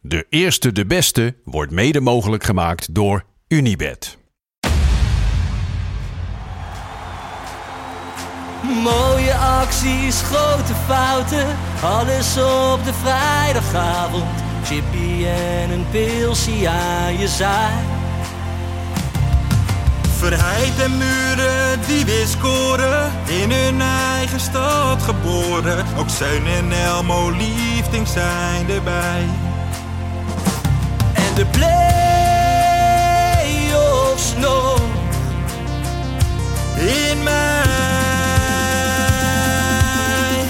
De eerste, de beste wordt mede mogelijk gemaakt door Unibed. Mooie acties, grote fouten, alles op de vrijdagavond. Chippy en een pilsie aan je zaai. Verheid en muren die weer scoren, in hun eigen stad geboren. Ook Zeun en Elmo liefding zijn erbij. En de play-offs nog. In mij.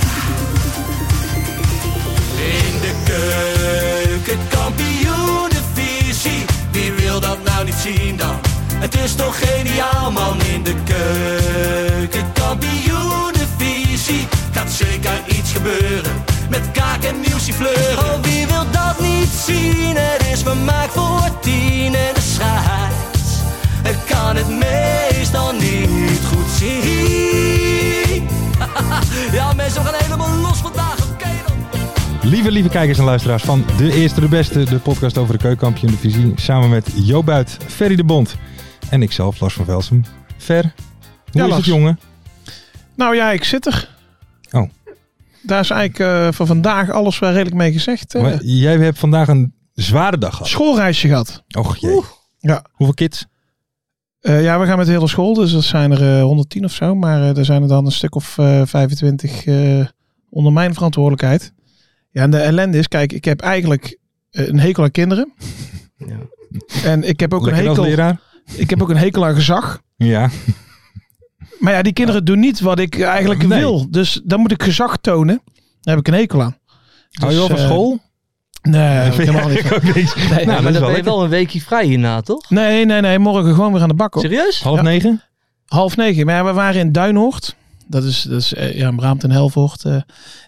In de keuken, kampioenenvisie. Wie wil dat nou niet zien dan? Het is toch geniaal man in de keuken, kampioenenvisie. Gaat zeker iets gebeuren met kaak en nieuwsie fleuren. Oh, wie wil dat niet zien? Het is vermaakt voor tien en de scheids. Ik kan het meestal niet goed zien. ja mensen, we gaan helemaal los vandaag, oké dan. Lieve, lieve kijkers en luisteraars van De Eerste de Beste, de podcast over de keukenkampioen divisie. Samen met Jo Buit, Ferry de Bond en ikzelf, Lars van Velsum. Ver, hoe Ja, is Lars. het jongen? Nou ja, ik zit er. Oh. Daar is eigenlijk eh, van vandaag alles wel redelijk mee gezegd. eh. Maar jij hebt vandaag een zware dag gehad. Schoolreisje gehad. Och jee. Ja. Hoeveel kids? Eh, ja, we gaan met de hele school, dus dat zijn er eh, 110 of zo. Maar eh, er zijn er dan een stuk of eh, 25 eh, onder mijn verantwoordelijkheid. Ja, en de ellende is, kijk, ik heb eigenlijk eh, een hekel aan kinderen. En ik heb, ook een Lekker als hekel, leraar? ik heb ook een hekel aan gezag. Ja. Maar ja, die kinderen doen niet wat ik eigenlijk Nee. wil. Dus dan moet ik gezag tonen. Daar heb ik een hekel aan. Hou je wel Dus, van eh, school? Nee, heb ik helemaal niet. van. ook niks. Nee, Nou, maar dat is dan ben wel je wel een weekje vrij hierna, toch? Nee, nee, nee. Morgen gewoon weer aan de bak. Hoor. Serieus? Half Ja. negen? Half negen. Maar ja, we waren in Duinhoort. Dat is, dat is eh, ja, Braamt en Helvoort. eh.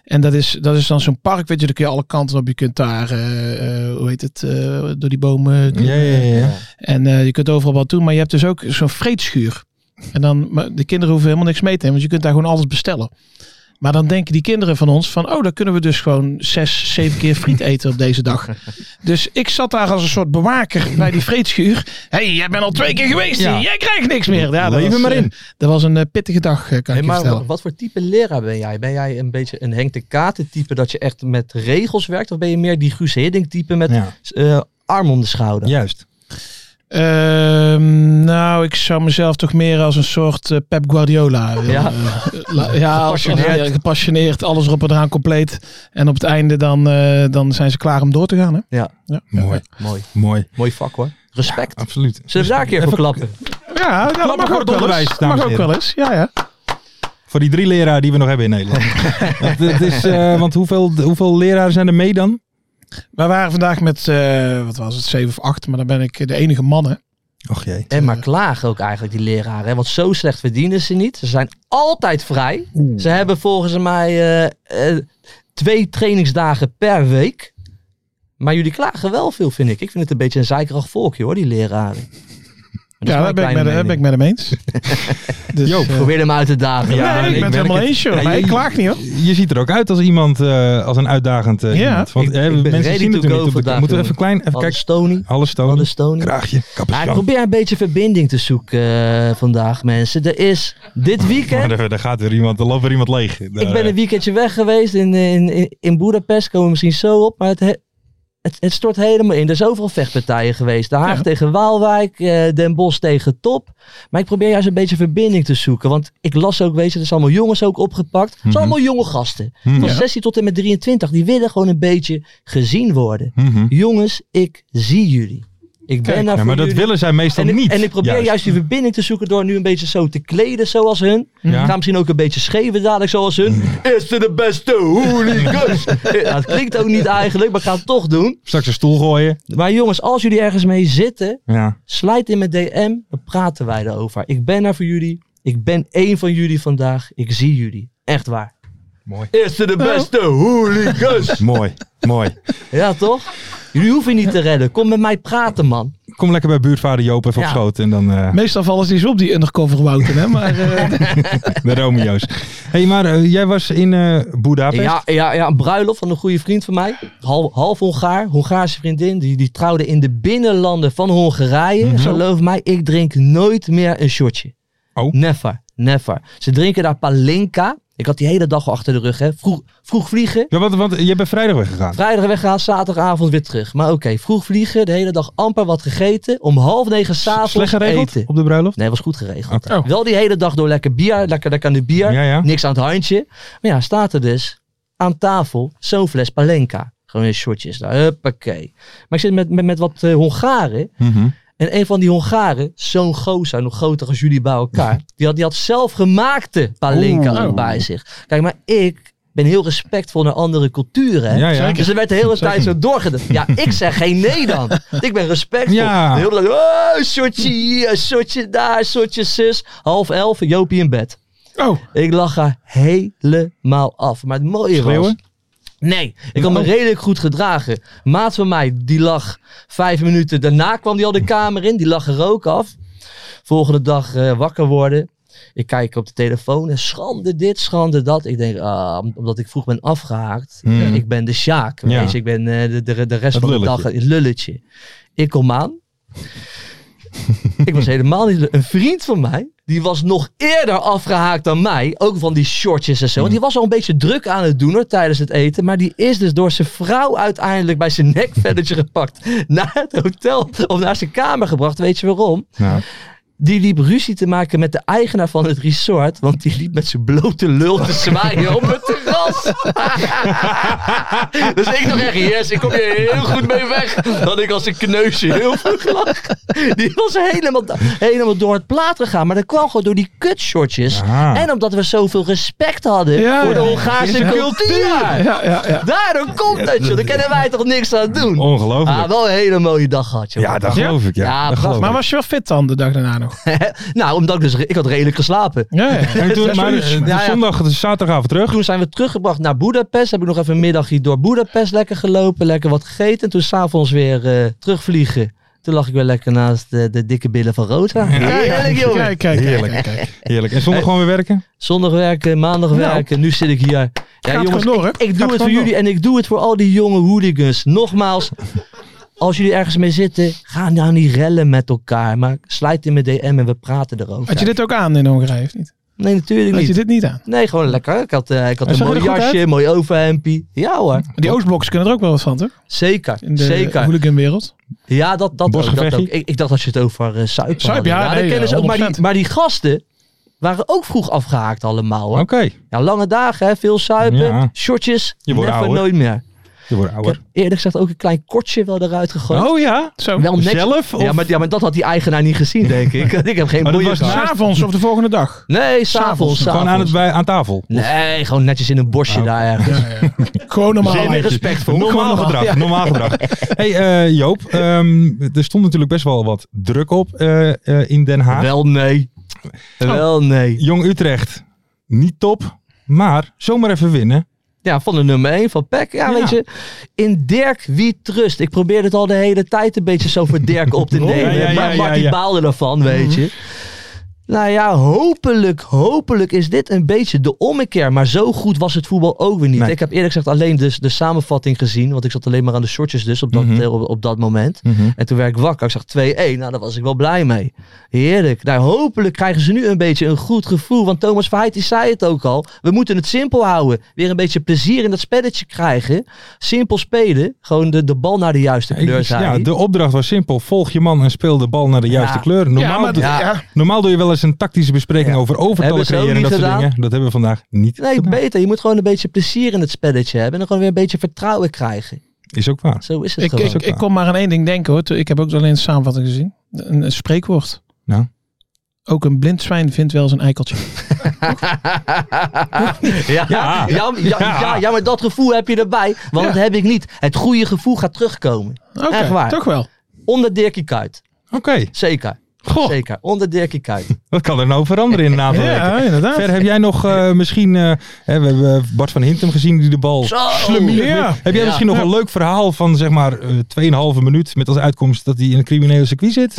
en dat is, dat is dan zo'n park, weet je, daar kun je alle kanten op. Je kunt daar, eh, eh, hoe heet het, eh, door die bomen. Ja, ja, ja. ja. En eh, je kunt overal wat doen, maar je hebt dus ook zo'n vreedschuur. En dan, maar de kinderen hoeven helemaal niks mee te nemen, want je kunt daar gewoon alles bestellen. Maar dan denken die kinderen van ons van, oh, dan kunnen we dus gewoon zes, zeven keer friet eten op deze dag. Dus ik zat daar als een soort bewaker bij die vreedschuur. Hé, hey, jij bent al twee keer geweest, Ja. jij krijgt niks meer. Ja, dat Leef er was, maar eh, in. dat was een eh, pittige dag, eh, kan Hey, ik je maar vertellen. wa- wat voor type leraar ben jij? Ben jij een beetje een Henk de Katen type dat je echt met regels werkt? Of ben je meer die Guus Hiddink type met Ja, eh, arm om de schouder? juist. Ehm, nou, ik zou mezelf toch meer als een soort eh, Pep Guardiola willen. Ja. eh, la- ja, als- Gepassioneerd. ja, gepassioneerd, alles erop en eraan compleet. En op het einde dan, eh, dan zijn ze klaar om door te gaan. Hè? Ja. Ja, Mooi, Mooi. mooi. Mooi vak hoor. Respect. Absoluut. Zullen we daar een keer voor klappen? ja nou, dat Klappen mag voor ook het wel onderwijs, eens. dames Mag en ook heren. wel eens, ja, ja. Voor die drie leraren die we nog hebben in Nederland. want, het is, eh, want hoeveel, hoeveel leraren zijn er mee dan? Wij waren vandaag met, eh, wat was het, zeven of acht, maar dan ben ik de enige man. Hè? Och jee. En maar klagen ook eigenlijk die leraren. Hè? Want zo slecht verdienen ze niet. Ze zijn altijd vrij. Hmm. Ze hebben volgens mij eh, eh, twee trainingsdagen per week. Maar jullie klagen wel veel, vind ik. Ik vind het een beetje een zeikerig volkje hoor, die leraren. Maar dat is Ja, daar mijn ben ik, kleine met, daar mening. ben ik met hem eens. dus, Joop, eh, Probeer hem uit te dagen. Ja, nee, ik ik ben ben het helemaal het- eens, joh. Nee, Maar ik je- klaag niet, hoor. Je ziet er ook uit als iemand, eh, als een uitdagend eh, Ja. iemand. Want Ik- eh, ik ben mensen ready zien to het er go niet op de vandaag, Moeten we jongen. even klein, even Alles kijken. Stony. Alles stonen, Alles Stony. kraagje, Maar ik kapperskamp. probeer een beetje verbinding te zoeken eh, vandaag, mensen. Er is dit Maar weekend. daar, daar gaat weer iemand, er loopt weer iemand leeg. Ik ben een weekendje weg geweest in, in, in, in Boedapest. Komen we misschien zo op. Maar het, he- het, het stort helemaal in. Er zijn overal vechtpartijen geweest. De Haag tegen Waalwijk. eh, Den Bosch tegen Top. Maar ik probeer juist een beetje verbinding te zoeken. Want ik las ook, weet je, er zijn allemaal jongens ook opgepakt. Het zijn Mhm. allemaal jonge gasten. Mhm. Van 16 tot en met 23. Die willen gewoon een beetje gezien worden. Mhm. Jongens, ik zie jullie. Ik ben Kijk, daar nou, voor maar dat jullie. willen zij meestal en ik, niet. En ik probeer juist. die verbinding te zoeken door nu een beetje zo te kleden zoals hun. Ja. Mm. Ik ga misschien ook een beetje schreven dadelijk zoals hun. Is dit de beste hooligans? nou, dat klinkt ook niet eigenlijk, maar ik ga het toch doen. Straks een stoel gooien. Maar jongens, als jullie ergens mee zitten, Ja. slijt in mijn DM. Dan praten wij erover. Ik ben er voor jullie. Ik ben één van jullie vandaag. Ik zie jullie. Echt waar. Mooi. Is dit de beste hooligans? mooi. Mooi. ja, toch? Jullie hoeven niet te redden. Kom met mij praten, man. Kom lekker bij buurtvader Joop even op Ja. schoot en dan eh, Meestal vallen ze eens op die undercover Wouter, hè? Maar eh, de Romeo's. hey, maar eh, jij was in eh Boedapest. Ja, ja, ja, een bruiloft van een goede vriend van mij. Half, half Hongaar, Hongaarse vriendin. Die, die trouwde in de binnenlanden van Hongarije. Mhm. Geloof mij, ik drink nooit meer een shotje. Oh. Never, never. Ze drinken daar palinka. Ik had die hele dag al achter de rug. Hè. Vroeg, vroeg vliegen. Ja, want, want je bent vrijdag weggegaan. Vrijdag weggaan, zaterdagavond weer terug. Maar oké, vroeg vliegen, de hele dag amper wat gegeten. Om half negen Slecht s'avonds geregeld eten. op de bruiloft? Nee, was goed geregeld. Oké. Oh. Wel die hele dag door lekker bier, lekker, lekker aan de bier. Ja, ja. Niks aan het handje. Maar ja, staat er dus aan tafel zo'n fles Palenka. Gewoon in shortjes daar. Huppakee. Maar ik zit met, met, met wat eh, Hongaren. Mhm. En een van die Hongaren, zo'n gozer, nog groter als jullie bij elkaar. Die had, die had zelfgemaakte Palenka Oeh. bij zich. Kijk, maar ik ben heel respectvol naar andere culturen. Hè? Ja, ja. Dus er werd de hele tijd zo doorgedaan. Ja, ik zeg geen nee dan. Ik ben respectvol. Ja. De hele tijd, oh, shotje hier, shotje daar, shotje zus. Half elf, Jopie in bed. oh, Ik lag haar helemaal af. Maar het mooie was... Schreeuwen? Nee, ik had me Oh. redelijk goed gedragen. Maat van mij, die lag vijf minuten daarna kwam die al de kamer in. Die lag er ook af. Volgende dag eh, wakker worden. Ik kijk op de telefoon en schande dit, schande dat. Ik denk, ah, omdat ik vroeg ben afgehaakt. Hmm. eh, Ik ben de Sjaak. Ja. Weet je, ik ben eh, de, de, de rest Het van lulletje. de dag het lulletje. Ik kom aan. ik was helemaal niet... lu- Een vriend van mij, die was nog eerder afgehaakt dan mij. Ook van die shortjes en zo. Want die was al een beetje druk aan het doen hoor, tijdens het eten. Maar die is dus door zijn vrouw uiteindelijk bij zijn nekvelletje gepakt. Naar het hotel of naar zijn kamer gebracht. Weet je waarom? Nou, Die liep ruzie te maken met de eigenaar van het resort. Want die liep met zijn blote lul te zwaaien op het terras. dus ik dacht echt, yes, ik kom hier heel goed mee weg. Dat ik als een kneusje heel vroeg lag. Die was helemaal, helemaal door het plaat gegaan. Maar dat kwam gewoon door die kutshortjes. Ah. En omdat we zoveel respect hadden Ja, voor de ja. Hongaarse Ja. cultuur. ja, ja, ja. Daarom komt dat, joh. Daar kunnen wij toch niks aan doen. ongelooflijk. Ah, wel een hele mooie dag gehad, joh. ja, dat geloof ik. Ja, Ja, dat geloof Maar ik. was je wel fit dan de dag daarna nog? Nou, omdat ik dus... re- Ik had redelijk geslapen. Ja, ja. En toen, maar eh, de Ja, ja. zondag, de zaterdagavond terug. Toen zijn we teruggebracht naar Boedapest. Heb ik nog even een middagje door Boedapest lekker gelopen, lekker wat gegeten. En toen s'avonds weer eh, terugvliegen. Toen lag ik weer lekker naast de, de dikke billen van Rosa. Heerlijk, joh. Kijk, kijk, Heerlijk. kijk, kijk. kijk. Heerlijk. En zondag gewoon weer werken? Zondag werken, maandag werken. Nu zit ik hier. Ja, Nou. Gaat jongens, gewoon door, hè? ik, ik doe Gaat het voor gewoon jullie en ik doe het voor al die jonge hooligans. Nogmaals, als jullie ergens mee zitten, ga nou niet rellen met elkaar. Maar slijt in mijn DM en we praten erover. Had je dit ook aan in Hongarije of niet? Nee, natuurlijk Had je niet. dit niet aan? Nee, gewoon lekker. Ik had, eh, ik had En een zag je mooi er goed jasje, uit? een mooi overhempie. Ja hoor, Die Oostblokkers kunnen er ook wel wat van, toch? zeker. In de zeker. hooliganwereld. Ja, dat, dat, ook, dat Bosgevechtje? ook. Ik, ik dacht dat je het over eh Suip had. Suip, ja, dat nee, kennen ze ook. Maar die, 100%. maar die gasten waren ook vroeg afgehaakt allemaal. Hoor. Oké. Ja, lange dagen, hè, veel suipen, Ja. shortjes, Je wordt never, ouder. nooit meer. Je wordt Ik heb ouder. eerlijk gezegd ook een klein kortje wel eruit gegooid. Oh ja? Zo. wel netjes. Zelf? Of? Ja maar, ja, maar dat had die eigenaar niet gezien, denk ik. ik heb geen Maar dat boeien was gehad. S'avonds of de volgende dag. Nee, s'avonds. S'avonds. Gewoon aan, het, Oh. s'avonds. bij, aan tafel. Nee, gewoon netjes in een bosje daar ergens. Gewoon normaal. Zin in eigenlijk. respect voor. Normaal, Normaal. gedrag. Normaal gedrag. hey, eh, Joop, ehm, er stond natuurlijk best wel wat druk op eh, eh, in Den Haag. Wel nee. Oh. Wel nee. Jong Utrecht, niet top, maar zomaar even winnen. Ja, van de nummer 1 van Peck. Ja, Ja. weet je. In Dirk, wie trust? Ik probeerde het al de hele tijd een beetje zo voor Dirk op te nemen. Oh, ja, ja, maar ja, Mark die ja. Mhm. baalde ervan, weet je. Nou ja, hopelijk, hopelijk is dit een beetje de ommekeer. Maar zo goed was het voetbal ook weer niet. Nee. Ik heb eerlijk gezegd alleen de, de samenvatting gezien. Want ik zat alleen maar aan de shortjes dus op dat, Mhm. eh, op, op dat moment. En toen werd ik wakker. Ik zag 2-1. Nou, daar was ik wel blij mee. Heerlijk. Nou, hopelijk krijgen ze nu een beetje een goed gevoel. Want Thomas Verheid die zei het ook al. We moeten het simpel houden. Weer een beetje plezier in dat spelletje krijgen. Simpel spelen. Gewoon de, de bal naar de juiste Ik- kleur zijn. ja, de opdracht was simpel. Volg je man en speel de bal naar de juiste Ja. kleur. Normaal, Ja, maar dat- doe- Ja. ja. normaal doe je wel eens een tactische bespreking Ja. over overtallen Hebben ze ook creëren en niet dat soort gedaan? dingen. Dat hebben we vandaag niet Nee, gedaan. beter. Je moet gewoon een beetje plezier in het spelletje hebben. En dan gewoon weer een beetje vertrouwen krijgen. Is ook waar. Zo is het Ik, gewoon. ik, ik kon maar aan één ding denken hoor. Ik heb ook alleen de samenvatting gezien. Een, een spreekwoord. Nou. Ook een blind zwijn vindt wel zijn eikeltje. ja, ja. Ja, ja, ja, maar dat gevoel heb je erbij. Want dat heb ik niet. Het goede gevoel gaat terugkomen. Oké, Echt waar. toch wel. Onder Dirkie Kuyt. Oké. Zeker. Goh, Zeker. Onder Dirkie Kuyt. wat kan er nou veranderen in een aantal weken? Ja, inderdaad. Ver, heb jij nog eh, misschien... eh, hè, we hebben Bart van Hintem gezien die de bal Zo. slemiert. Ja. Heb jij Ja. misschien nog een leuk verhaal van zeg maar eh 2,5 minuut met als uitkomst dat hij in een criminele circuit zit?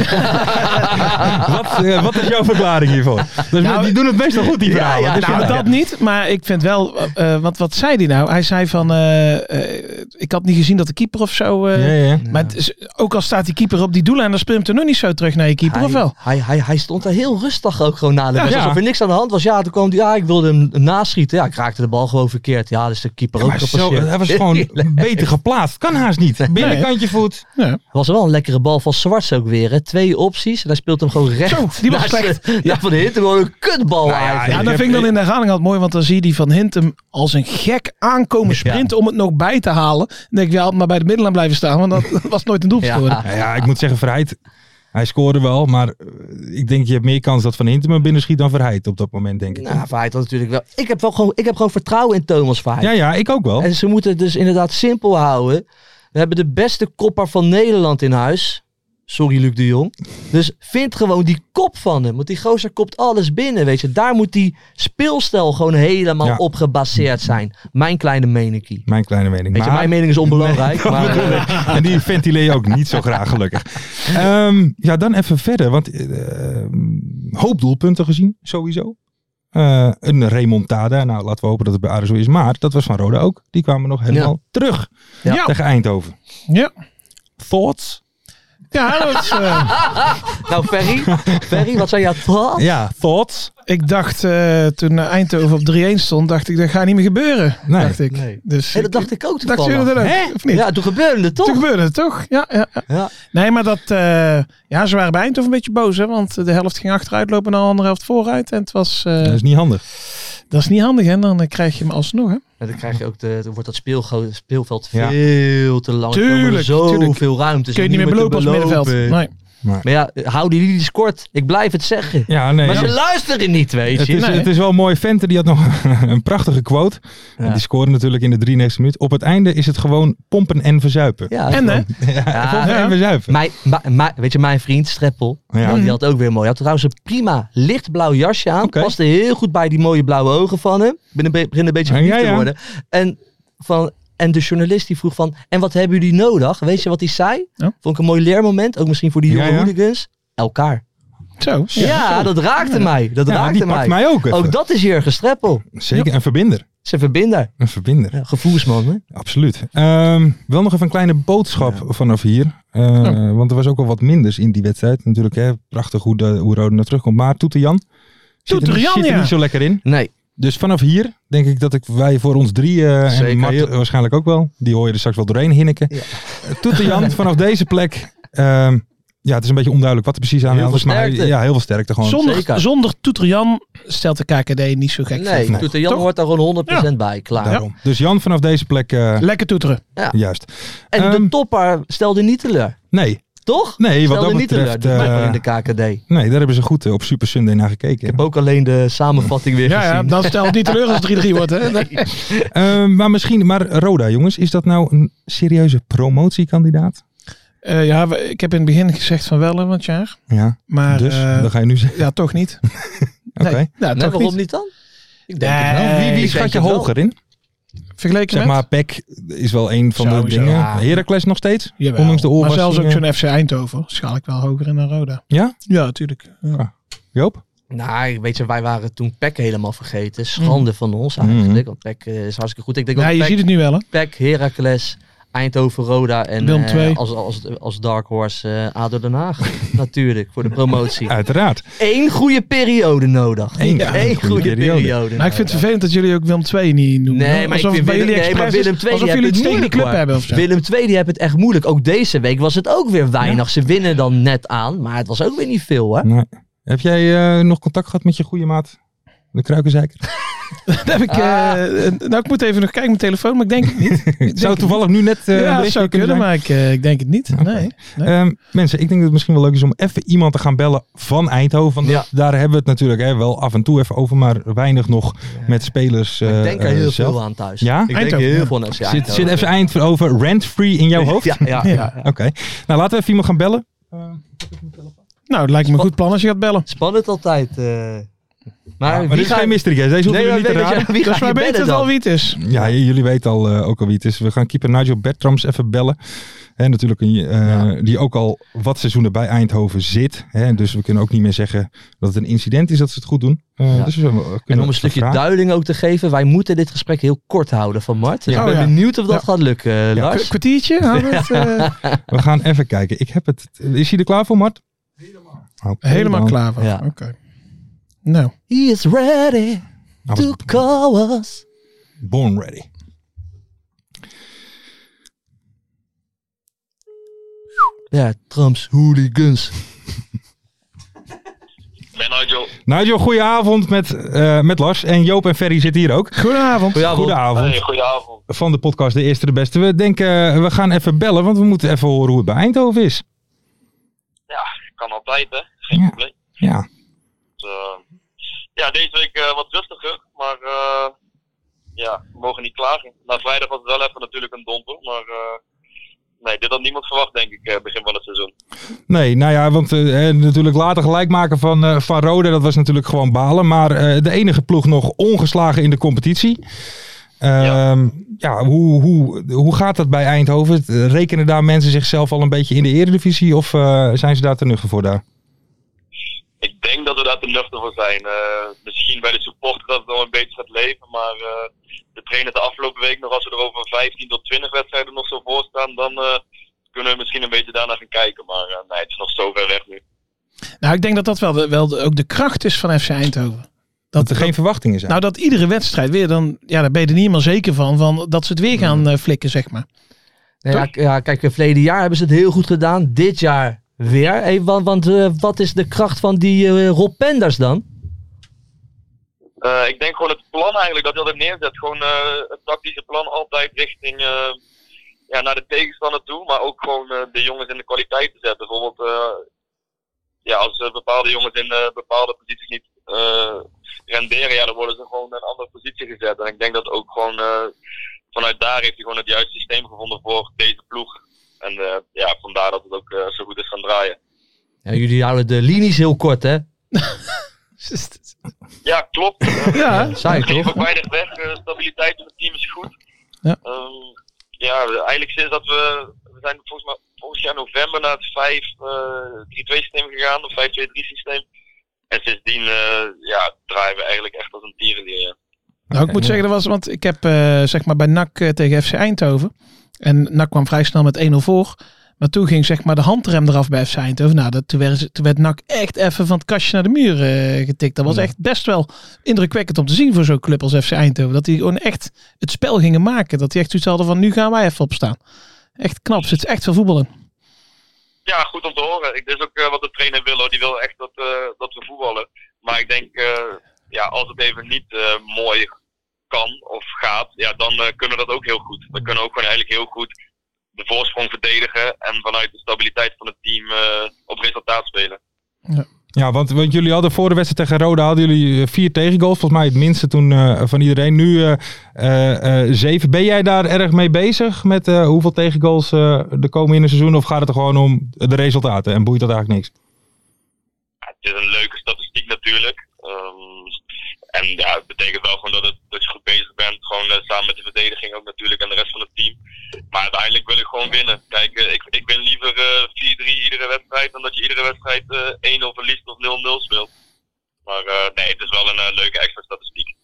wat, eh, wat is jouw verklaring hiervoor? Dus Nou, die doen het meestal goed, die ja, verhalen. ja, Dus Nou, dat niet, maar ik vind wel, eh, eh, want wat zei hij nou? Hij zei van, eh, eh, ik had niet gezien dat de keeper of zo. eh, ja, ja. Maar het is- ook al staat die keeper op die doelen en dan speelt hem er nog niet zo terug naar je keeper, Hij, of wel? Hij, hij, hij stond daar heel rustig ook gewoon na de Ja, wedstrijd. ja. Alsof er niks aan de hand was. Ja, toen kwam hij. Ja, ik wilde hem naschieten. Ja, ik raakte de bal gewoon verkeerd. Ja, dus de keeper Ja, ook maar zo, gepasseerd. hij was gewoon beter geplaatst. Kan haast niet. Binnenkantje voet. Ja. was wel een lekkere bal van Zwarts ook weer. Hè. Twee opties. En hij speelt hem gewoon recht. Zo, die was naast slecht. de- ja, van de hit gewoon een kutbal eigenlijk. Ja, ik Nou, dat heb- vind ik dan in de herhaling altijd mooi, want dan zie je die van Hintem als een gek aankomen sprinten om het nog bij te halen. Dan denk ik, ja, had maar bij de middenlijn blijven staan, want dat was nooit een doelpunt Ja. geworden. Nou ja, ik moet zeggen, Verheid, hij scoorde wel. Maar eh, ik denk, je hebt meer kans dat Van Hintem hem binnenschiet dan Verheid op dat moment, denk ik. Nou, Verheid had natuurlijk wel. Ik heb, wel gewoon, ik heb gewoon vertrouwen in Thomas Verheid. Ja, ja, ik ook wel. En ze moeten het dus inderdaad simpel houden. We hebben de beste kopper van Nederland in huis. Sorry, Luc de Jong. Dus vind gewoon die kop van hem. Want die gozer kopt alles binnen, weet je. Daar moet die speelstijl gewoon helemaal Ja. op gebaseerd zijn. Mijn kleine meninkie. Mijn kleine mening. Weet je, Maar- mijn mening is onbelangrijk. maar, eh, En die ventileer je ook niet zo graag, gelukkig. Ehm, ja, dan even verder. Want eh, ehm, hoop doelpunten gezien, sowieso. Eh, een remontada. Nou, laten we hopen dat het bij Aarde zo is. Maar dat was van Roda ook. Die kwamen nog helemaal terug Ja. Ja. tegen Eindhoven. Ja. Thoughts? Ja, dat is, eh, nou, Ferry. Ferry, wat zijn jouw thoughts? Ja, thoughts. ik dacht eh, toen Eindhoven op 3-1 stond, dacht ik, dat gaat niet meer gebeuren. Nee. Dacht ik. Nee. Dus En dat dacht ik ook dacht jullie toevallig. dat ook, Hè? of niet? Ja, toen gebeurde het Toen toch? gebeurde het toch? Ja, ja, ja. Ja. Nee, maar dat, eh, ja, ze waren bij Eindhoven een beetje boos, hè, want de helft ging achteruit lopen en de andere helft vooruit. En het was, eh, Dat is niet handig. dat is niet handig, hè? Dan eh, krijg je hem alsnog, hè? En dan krijg je ook de, dan wordt dat speelgo- speelveld Ja. veel te lang. Er komen Tuurlijk, tuurlijk. Zoveel ruimte. Kun je niet meer belopen als middenveld. Nee. Maar ja, hou die linies kort. Ik blijf het zeggen. Ja, nee. Maar ja. ze luisteren niet, weet Het je. is, Nee. het is wel mooi. Venter die had nog een prachtige quote. Ja. Die scoorde natuurlijk in de 93 minuut. Op het einde is het gewoon pompen en verzuipen. Ja, En hè? ja. Pompen en verzuipen. Mijn, ma- ma- weet je, mijn vriend Streppel, Ja. nou, die had ook weer mooi. Hij had trouwens een prima lichtblauw jasje aan. Oké. Paste heel goed bij die mooie blauwe ogen van hem. Ik ben een, be- begin een beetje verliefd Ja, ja. te worden. En, van, en de journalist die vroeg van, en wat hebben jullie nodig? Weet je wat hij zei? Ja. Vond ik een mooi leermoment, ook misschien voor die jonge Ja, ja. hooligans. Elkaar. Zo. Ja, dat raakte mij. Dat Ja, raakte die pakt mij ook even. Ook dat is Jurgen Streppel. Zeker, een verbinder. Ze verbinder. Een verbinder, Ja, gevoelsman, hè? absoluut. Ehm, wel nog even een kleine boodschap vanaf hier. Eh, Oh. Want er was ook al wat minders in die wedstrijd. Natuurlijk, hè, prachtig hoe, de, hoe Roda naar terugkomt. Maar Toeter Jan zit, er, Toeter niet- Jan, zit er ja. niet zo lekker in. Nee. Dus vanaf hier denk ik dat ik, wij voor ons drie, eh, Zeker, en Mart joh. waarschijnlijk ook wel, die hoor je er straks wel doorheen hinneken. Ja. Toeter Jan, vanaf deze plek, ehm, ja, het is een beetje onduidelijk wat er precies aan de Heel hand is. veel Maar sterkte. ja, heel veel sterkte gewoon. Zonder, Zeker. zonder Toeter Jan stelt de KKD niet zo gek. Nee, Nee. Toeter Jan Toch? hoort daar gewoon 100% bij. Klaar. Daarom. Dus Jan vanaf deze plek, eh, Lekker toeteren. juist. En Ehm, de topper stelde niet teleur. Nee, Toch? nee wat stelde dat niet betreft... teleur. die topper eh, in de KKD. Nee, daar hebben ze goed eh, op Super Sunday naar gekeken. Ik heb ook alleen de samenvatting weer Ja, ja, gezien. dan stelt het niet teleur als het 3-3 wordt, hè? Nee. Eh, maar misschien, maar Roda jongens, is dat nou een serieuze promotiekandidaat? Eh, ja, we- ik heb in het begin gezegd van wel, hè, want jaar. Ja, Maar dus eh, dat ga je nu zeggen. ja, toch niet. Oké. Nee, ja, Nee, toch Nou, waarom niet. niet, dan? Ik denk het Nee, wel. Nou, Wie, wie Eh, Ik schat denk je het wel. hoger in? Vergeleken Zeg met? maar, PEC is wel een van de Sowieso. dingen. Ja. Heracles nog steeds? Jawel. Ondanks de maar oorwassing, zelfs ook eh, zo'n FC Eindhoven schaal ik wel hoger in dan Roda. Ja? Ja, natuurlijk. Ja. Joop? Nou, weet je, wij waren toen Peck helemaal vergeten. Schande van ons eigenlijk. Want Peck eh, is hartstikke goed. Ik denk Ja, dat je Peck, ziet het nu wel, hè? Peck, Heracles, Eindhoven, Roda en Willem eh, II. als, als, als Dark Horse eh ADO Den Haag. Natuurlijk, voor de promotie. Uiteraard. Eén goede periode nodig. Eén goede Eén goede periode. periode. Nou, ik vind het vervelend dat jullie ook Willem 2 niet noemen. Nee, maar, ik alsof vind bij Willem, jullie nee, maar expres is, Willem II alsof die jullie hebben het het tegen die moeilijk club hoor. hebben. Of zo. Willem II die hebben het echt moeilijk. Ook deze week was het ook weer weinig. Ze winnen dan net aan, maar het was ook weer niet veel hè. Nee. Heb jij eh, nog contact gehad met je goede maat De kruikenzeiker. Daar heb ik, eh, eh, nou, ik moet even nog kijken op mijn telefoon, maar ik denk het niet. Het zou toevallig nu net... eh, een ja, berichtje dat zou kunnen, zijn. maar ik, eh, ik denk het niet. Oké. Nee. Nee. Ehm, mensen, ik denk dat het misschien wel leuk is om even iemand te gaan bellen van Eindhoven. Want Ja. daar hebben we het natuurlijk hè, wel af en toe even over, maar weinig nog met spelers. eh, ik denk er eh, heel zelf. veel aan thuis. Ja? Ik denk Eindhoven, heel ja. veel aan. FC Zit, Eindhoven. zit even Eindhoven rent-free in jouw hoofd? Ja, ja, ja. Ja. Oké. Nou, laten we even iemand gaan bellen. Nou, het lijkt me een goed plan als je gaat bellen. Spannend altijd. eh. Ja, Maar, maar dit is geen mystery guest. Deze hoeven Nee, jullie maar niet te weet dat raden. je- wie Dus ga wij je weten bedden het al dan? wie het is. Ja, j- jullie weten al, eh, ook al wie het is. We gaan keeper Nigel Bertrams even bellen. En natuurlijk een, eh, die ook al wat seizoenen bij Eindhoven zit. Hè, dus we kunnen ook niet meer zeggen dat het een incident is dat ze het goed doen. Eh, Ja. dus we kunnen En om een stukje vragen. duiding ook te geven, wij moeten dit gesprek heel kort houden van Mart. Dus Ja. ik ben Oh, ja. benieuwd of dat Ja. gaat lukken, eh, Ja, Een Lars. kwartiertje? houden we het, eh, We gaan even kijken. Ik heb het. Is hij er klaar voor, Mart? Helemaal. helemaal klaar voor. Ja. Oké. Nou, He is ready Nou, to call us. Born ready. Ja, Trumps hooligans. Ben Nigel. Nigel, goedenavond met, eh, met Lars. En Joop en Ferry zitten hier ook. goedenavond. Goedenavond. Goedenavond. Hey, goedenavond. Van de podcast De Eerste de Beste. We denken, eh, we gaan even bellen, want we moeten even horen hoe het bij Eindhoven is. Ja, kan altijd hè. Geen Ja. probleem. Ja. Dus, eh, ja, deze week eh, wat rustiger. Maar eh, ja, we mogen niet klagen. Na vrijdag was het wel even natuurlijk een domper. Maar eh, nee, dit had niemand verwacht denk ik eh, begin van het seizoen. Nee, nou ja, want eh, eh, natuurlijk later gelijk maken van, eh, van Rode, dat was natuurlijk gewoon balen. Maar eh, de enige ploeg nog ongeslagen in de competitie. Ehm, ja, hoe, hoe, hoe gaat dat bij Eindhoven? Rekenen daar mensen zichzelf al een beetje in de eredivisie? Of eh, zijn ze daar te nuchter voor daar? Ik denk dat we daar te nuchter voor zijn. Eh, misschien bij de supporter dat het nog een beetje gaat leven. Maar eh, de trainer de afgelopen week nog, als we er over 15 tot 20 wedstrijden nog zo voor staan, dan eh, kunnen we misschien een beetje daarna gaan kijken. Maar eh, nee, het is nog zo ver weg nu. Nou, ik denk dat dat wel, de- wel de- ook de kracht is van FC Eindhoven. Dat er geen verwachtingen zijn. Nou, dat iedere wedstrijd weer, dan, ja, daar ben je er niet helemaal zeker van, van dat ze het weer gaan eh, flikken, zeg maar. Nee, ja, Toch? k- ja, kijk, eh, verleden jaar hebben ze het heel goed gedaan. Dit jaar weer. Hey, want want eh, wat is de kracht van die eh, Rob Penders dan? Eh, ik denk gewoon het plan eigenlijk dat hij altijd neerzet. Gewoon eh, het tactische plan altijd richting eh, ja, naar de tegenstander toe. Maar ook gewoon eh, de jongens in de kwaliteit te zetten. Bijvoorbeeld eh, ja, als eh, bepaalde jongens in eh, bepaalde posities niet eh, renderen, ja, dan worden ze gewoon in een andere positie gezet. En ik denk dat ook gewoon eh, vanuit daar heeft hij gewoon het juiste systeem gevonden voor deze ploeg. En eh, ja, vandaar dat het ook eh, zo goed is gaan draaien. Ja, jullie houden de linies heel kort, hè? Ja, klopt. Eh, Ja, Saai, Ik geef toch? ook weinig weg. Eh, stabiliteit in het team is goed. Ja. Ehm, ja, we- eigenlijk sinds dat we... We zijn volgens mij vorig jaar november naar het eh, 5-3-2-systeem gegaan. Of 5-2-3-systeem. En sindsdien eh, ja, draaien we eigenlijk echt als een tierenlier. ja. Nou, ik moet zeggen, dat was, want ik heb eh, zeg maar bij NAC eh, tegen FC Eindhoven. En NAC kwam vrij snel met 1-0 voor. Maar toen ging zeg maar de handrem eraf bij FC Eindhoven. Nou, dat, toen, werd, ze- toen werd NAC echt even van het kastje naar de muur eh, getikt. Dat was echt best wel indrukwekkend om te zien voor zo'n club als FC Eindhoven. Dat die gewoon echt het spel gingen maken. Dat die echt zoiets hadden van, nu gaan wij even opstaan. Echt knap, zit echt veel voetbal in. Ja, goed om te horen. Ik, dit is ook eh, wat de trainer wil. Hoor. Die wil echt dat, eh, dat we voetballen. Maar ik denk, eh, ja, als het even niet eh, mooi kan of gaat, ja, dan eh, kunnen we dat ook heel goed. We kunnen ook gewoon eigenlijk heel goed de voorsprong verdedigen en vanuit de stabiliteit van het team eh, op resultaat spelen. Ja, want, want jullie hadden voor de wedstrijd tegen Roda hadden jullie eh, vier tegengoals. Volgens mij het minste toen eh, van iedereen. Nu eh, eh, eh, zeven. Ben jij daar erg mee bezig met eh, hoeveel tegengoals eh, er komen in een seizoen? Of gaat het er gewoon om de resultaten en boeit dat eigenlijk niks? Ja, het is een leuke statistiek natuurlijk. Ehm, en ja, het betekent wel gewoon dat, het, dat je goed bezig bent. Gewoon eh, samen met de verdediging ook natuurlijk en de rest van het team. Maar uiteindelijk wil ik gewoon winnen. Kijk, eh, ik, ik ben liever eh, 4-3 iedere wedstrijd dan dat je iedere wedstrijd eh 1-0 verliest of 0-0 speelt. Maar eh, nee, het is wel een eh, leuke extra statistiek.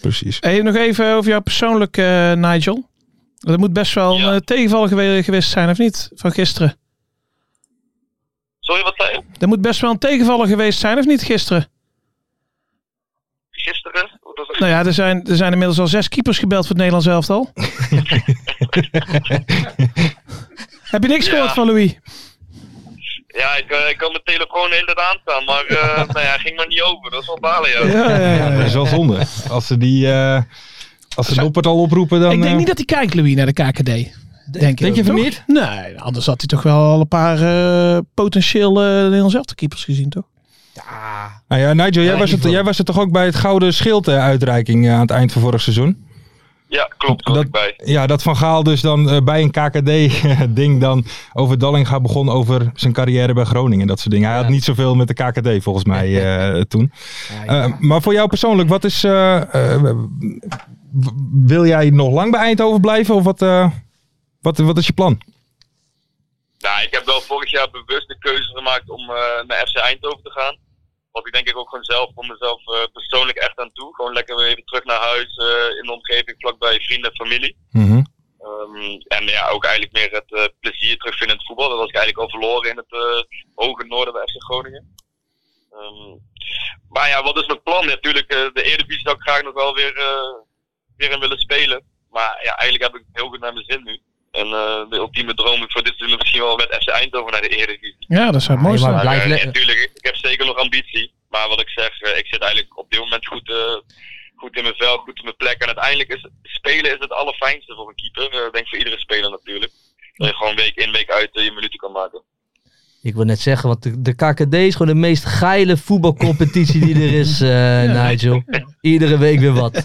Precies. Hey, nog even over jou persoonlijk, eh, Nigel. Dat moet best wel Ja. een eh, tegenval gewe- geweest zijn, of niet? Van gisteren. Sorry, wat zei je? Dat moet best wel een tegenvaller geweest zijn, of niet, gisteren? Gisteren? Wat was het? Nou ja, er zijn, er zijn inmiddels al zes keepers gebeld voor het Nederlands elftal. Heb je niks Ja. gehoord van Louis? Ja, ik, eh, ik kan mijn telefoon de hele tijd aanstaan, maar eh nee, hij ging maar niet over. Dat is wel balen, joh. Ja, ja, ja. Ja, dat is wel zonde. Als ze die... eh, als ze Zo- Noppert al oproepen, dan... ik denk eh, niet dat hij kijkt, Louis, naar de KKD. Denk, denk je toch? Vermeer? Nee, anders had hij toch wel al een paar eh, potentieel eh Nederlands elftal keepers gezien, toch? Nou ja, Nigel, jij was, het, jij was er toch ook bij het Gouden Schild eh, uitreiking eh, aan het eind van vorig seizoen? Ja, klopt, was Dat- ik bij. Ja, dat Van Gaal dus dan eh, bij een KKD-ding dan over Dallinga begon over zijn carrière bij Groningen en dat soort dingen. Hij had niet zoveel met de KKD volgens mij eh, toen. Eh, maar voor jou persoonlijk, wat is... eh, eh, w- wil jij nog lang bij Eindhoven blijven of wat, eh, wat, wat is je plan? Nou, ik heb wel vorig jaar bewust de keuze gemaakt om eh, naar FC Eindhoven te gaan. Want ik denk ik ook gewoon zelf voor mezelf eh, persoonlijk echt aan toe. Gewoon lekker weer even terug naar huis eh, in de omgeving, vlakbij vrienden en familie. Mhm. Ehm, en ja, ook eigenlijk meer het eh, plezier terugvinden in het voetbal. Dat was ik eigenlijk al verloren in het eh, hoge noorden bij FC Groningen. Ehm, maar ja, wat is mijn plan? Natuurlijk, eh, de Eredivisie zou ik graag nog wel weer, eh, weer in willen spelen. Maar ja, eigenlijk heb ik het heel goed naar mijn zin nu. En eh, de ultieme droom voor dit seizoen is misschien wel met FC Eindhoven naar de Eredivisie. Ja, dat zou het mooiste maar zijn. blijf Eh, lekker. natuurlijk, ik heb zeker nog ambitie. Maar wat ik zeg, eh, ik zit eigenlijk op dit moment goed, eh, goed in mijn vel, goed op mijn plek. En uiteindelijk is spelen is het allerfijnste voor een keeper. Eh, Ik denk voor iedere speler natuurlijk. Dat je gewoon week in, week uit eh, je minuten kan maken. Ik wil net zeggen, want de, de KKD is gewoon de meest geile voetbalcompetitie die er is, eh, Nigel. Iedere week weer wat.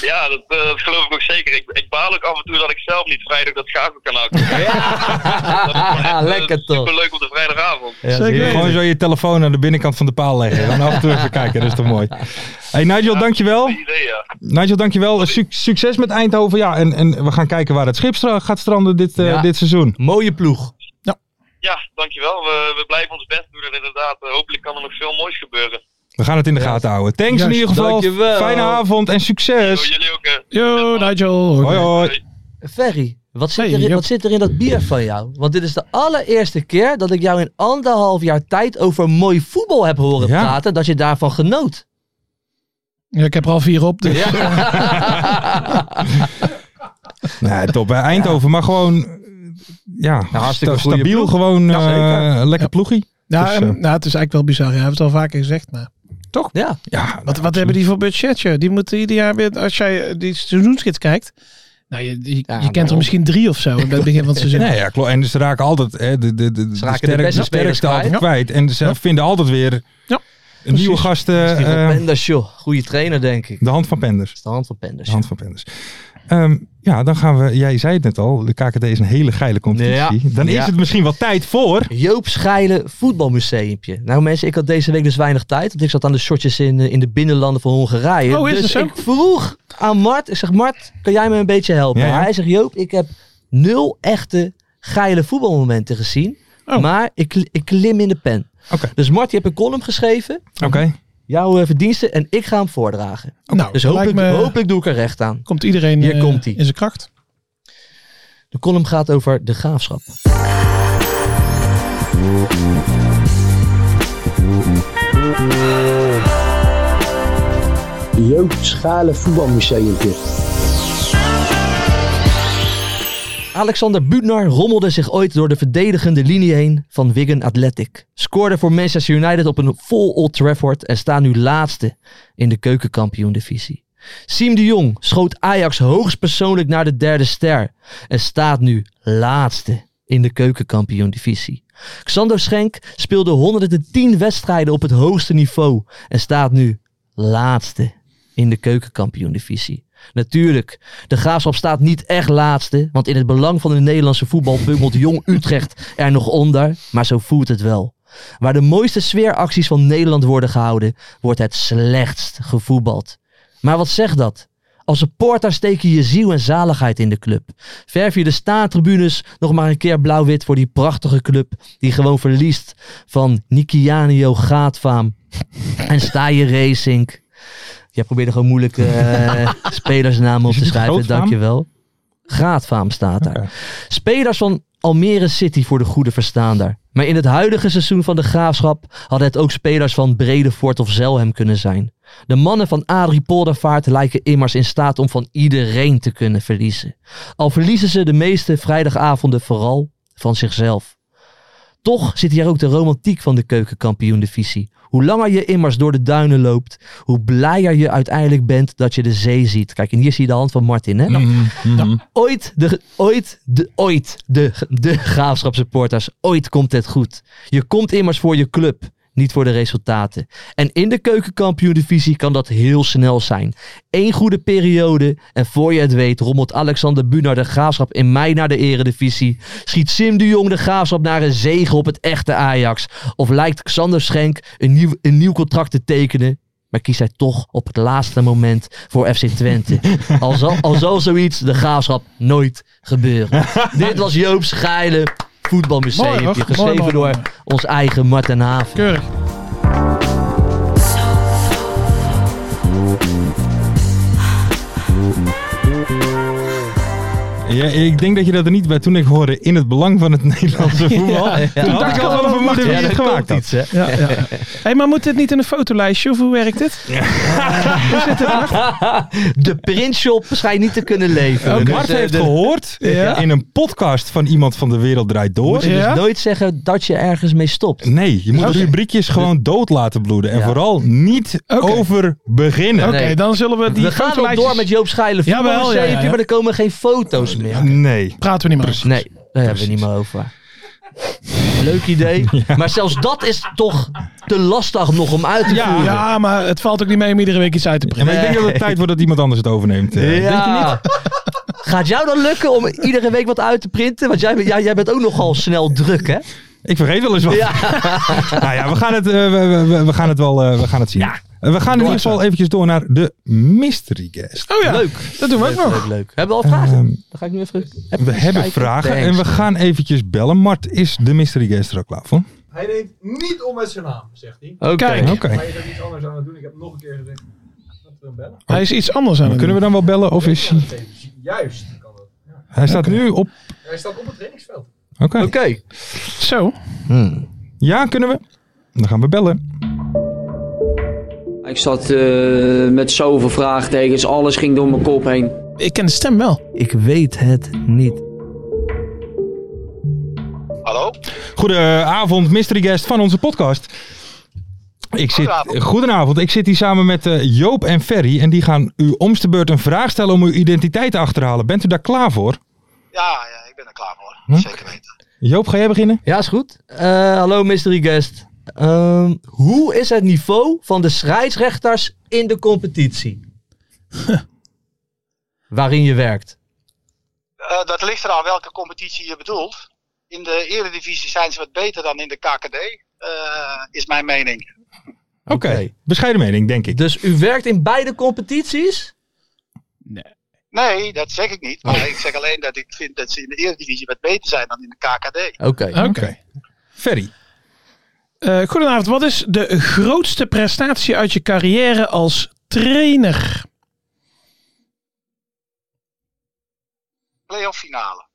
Ja, dat, eh, dat geloof ik ook zeker. Ik, ik baal ook af en toe dat ik zelf niet vrijdag dat schakelkanaal kan kijken. Haha, Lekker toch? eh, Superleuk op de vrijdagavond. Ja, Zeker zeker. Gewoon zo je telefoon aan de binnenkant van de paal leggen en af en toe even kijken, dat is toch mooi. Hey Nigel, dankjewel. Goed idee, ja. Nigel, dankjewel. Suc- succes met Eindhoven. Ja, en, en we gaan kijken waar het schip stra- gaat stranden dit, eh, Ja. dit seizoen. Mooie ploeg. Ja, dankjewel. We, we blijven ons best doen en inderdaad, eh, hopelijk kan er nog veel moois gebeuren. We gaan het in de gaten houden. Thanks in Juist. ieder geval. Dankjewel. Fijne avond en Dus- Zo, succes. jullie ook. eh. Yo, Nigel. Hoi hoi. Ferry, wat zit, Hey, er in, Joop. wat zit er in dat bier van jou? Want dit is de allereerste keer dat ik jou in anderhalf jaar tijd over mooi voetbal heb horen Ja. praten. Dat je daarvan genoot. Ja, ik heb er al vier op, dus Nee, top. Hè. Eindhoven, maar gewoon... eh, Ja, Nou, hartstikke sta- goede stabiel. ploeg. Gewoon Ja, eh, lekker ploegie. Nou, Dus, eh, hem- nou, het is eigenlijk wel bizar. Hij heeft het al vaker gezegd. Maar. Ja, Ja, Wat, wat hebben die voor budgetje? Die moeten ieder jaar weer, als jij eh, die seizoensgids kijkt. Nou, je, je, Ja, je kent er daarom. misschien drie of zo bij het begin van het seizoen. Nee, ja, klopt. En ze raken altijd hè, de, de, de, Ze raken de sterk- beste spelers sterkste altijd kwijt. En ze vinden altijd weer Ja, een nieuwe precies. gasten. die van eh, Penders, joh. Goeie trainer, denk ik. de hand van Penders. Is de hand van Penders. De hand van Penders. Ehm, ja, dan gaan we. Jij zei het net al. De KKD is een hele geile competitie. Ja. Dan is Ja. het misschien wel tijd voor. Joop Scheile voetbalmuseumpje. Nou mensen, ik had deze week dus weinig tijd. Want ik zat aan de shortjes in, eh, in de binnenlanden van Hongarije. Oh, is dus het zo? ik vroeg aan Mart. Ik zeg, Mart, kan jij me een beetje helpen? Ja, ja. Hij zegt, Joop, ik heb nul echte geile voetbalmomenten gezien. Oh. Maar ik, ik klim in de pen. Oké. Dus Mart, je hebt een column geschreven. Oké. Jouw eh, verdiensten. En ik ga hem voordragen. Nou, Dus lijkt hopelijk, me- hopelijk doe ik er recht aan. komt iedereen Hier eh, komt-ie. in zijn kracht. De column gaat over de graafschap. Jeugdschalen voetbalmuseumpje. Alexander Butnar rommelde zich ooit door de verdedigende linie heen van Wigan Athletic. Scoorde voor Manchester United op een vol Old Trafford en staat nu laatste in de keukenkampioen-divisie. Siem de Jong schoot Ajax hoogstpersoonlijk naar de derde ster en staat nu laatste in de keukenkampioen-divisie. Xander Schenk speelde 110 wedstrijden op het hoogste niveau en staat nu laatste in de keukenkampioen-divisie. Natuurlijk, de graafschap staat niet echt laatste, want in het belang van de Nederlandse voetbal bungelt Jong Utrecht er nog onder, maar zo voelt het wel. Waar de mooiste sfeeracties van Nederland worden gehouden, wordt het slechtst gevoetbald. Maar wat zegt dat? Als supporter steek je je ziel en zaligheid in de club. Verf je de staantribunes nog maar een keer blauw-wit voor die prachtige club die gewoon verliest van Nikianio Gaatvaam en Staaien Racing. Jij probeerde gewoon moeilijke eh, spelersnamen op Is het te niet schrijven, Grootvaam? dankjewel. Graatvaam staat daar. Spelers van Almere City voor de goede verstaander. Maar in het huidige seizoen van de Graafschap hadden het ook spelers van Bredevoort of Zelhem kunnen zijn. De mannen van Adrie Poldervaart lijken immers in staat om van iedereen te kunnen verliezen. Al verliezen ze de meeste vrijdagavonden vooral van zichzelf. Toch zit hier ook de romantiek van de keukenkampioen-divisie. Hoe langer je immers door de duinen loopt, hoe blijer je uiteindelijk bent dat je de zee ziet. Kijk, en hier zie je de hand van Martin. Hè? Ooit, de, ooit, de, ooit, de, de graafschap supporters, ooit komt het goed. Je komt immers voor je club, niet voor de resultaten. En in de keukenkampioen-divisie kan dat heel snel zijn. Eén goede periode en voor je het weet rommelt Alexander Bunar de graafschap in mei naar de eredivisie. Schiet Sim de Jong de graafschap naar een zege op het echte Ajax. Of lijkt Xander Schenk een nieuw, een nieuw contract te tekenen. Maar kiest hij toch op het laatste moment voor FC Twente. Al zal, al zal zoiets de graafschap nooit gebeuren. Dit was Joop's geile Mooi, voetbalmuseum. hoor. Geschreven Mooi, mooi, door mooi. ons eigen Marten Haven. Keurig. Ja, ik denk dat je dat er niet bij toen ik hoorde in het belang van het Nederlandse voetbal. Toen dacht ik al wel over Martin wie Ja, het dat gemaakt komt had. iets, hè? Ja, ja. hey, maar moet dit niet in een fotolijstje? Of hoe werkt dit? De printshop schijnt niet te kunnen leven. Dus, eh, Mart heeft gehoord Ja. in een podcast van iemand van De Wereld Draait Door. Moet je Ja? dus nooit zeggen dat je ergens mee stopt. Nee, je moet Oké. de rubriekjes gewoon dood laten bloeden. En Ja. vooral niet Oké. over beginnen. Oké, Nee. dan zullen we die we gaan wel fotolijstjes- door met Joop Schijlen Jawel, ja, voetbalmuseum, ja, ja. maar er komen geen foto's meer. Nee. Praten we niet meer over. Nee, daar hebben we niet meer over. Leuk idee. Maar zelfs dat is toch te lastig nog om uit te voeren. Ja, maar het valt ook niet mee om iedere week iets uit te Ja, brengen. maar ik denk dat het tijd wordt dat iemand anders het overneemt. eh. Ja. Gaat jou dan lukken om iedere week wat uit te printen? Want jij, ja, jij bent ook nogal snel druk, hè? Ik vergeet wel eens wat. Ja. Nou ja, we gaan het, eh, we, we- we gaan het wel eh, we gaan het zien. Eh, we gaan in ieder geval eventjes door naar de mystery guest. Oh ja, Leuk. dat doen we ook Leuk, nog. leuk, leuk. Hebben we al vragen? Ehm, dan ga ik nu even... even we hebben kijken. vragen Thanks. en we gaan eventjes bellen. Mart, is de mystery guest er ook klaar voor? Hij neemt niet om met zijn naam, zegt hij. Oké. Kijk. Oké. Maar je bent iets anders aan het doen. Ik heb nog een keer gezegd, laten we hem bellen. Hij is iets anders aan het Kunnen we dan wel bellen of is hij... Even- Juist, kan dat. Hij staat nu op... Hij staat op het trainingsveld. Oké. Oké. doen. Zo. Ja, kunnen we? Dan gaan we bellen. Ik zat eh, met zoveel vraagtekens, alles ging door mijn kop heen. Ik ken de stem wel. Ik weet het niet. Hallo? Goedenavond, mystery guest van onze podcast. Ik zit, Goedenavond. goedenavond, ik zit hier samen met eh, Joop en Ferry. En die gaan u omste beurt een vraag stellen om uw identiteit te achterhalen. Bent u daar klaar voor? Ja, ja, ik ben er klaar voor. Zeker weten. Joop, ga jij beginnen? Ja, is goed. Eh, hallo, mystery guest. Ehm, hoe is het niveau van de scheidsrechters in de competitie? Waarin je werkt. Eh, dat ligt eraan welke competitie je bedoelt. In de Eredivisie zijn ze wat beter dan in de KKD, eh, is mijn mening. Oké. Bescheiden mening, denk ik. Dus u werkt in beide competities? Nee, dat zeg ik niet. Maar ik zeg alleen dat ik vind dat ze in de Eredivisie wat beter zijn dan in de KKD. Oké. Oké. Ferry. Eh, goedenavond. Wat is de grootste prestatie uit je carrière als trainer? Playoff finale.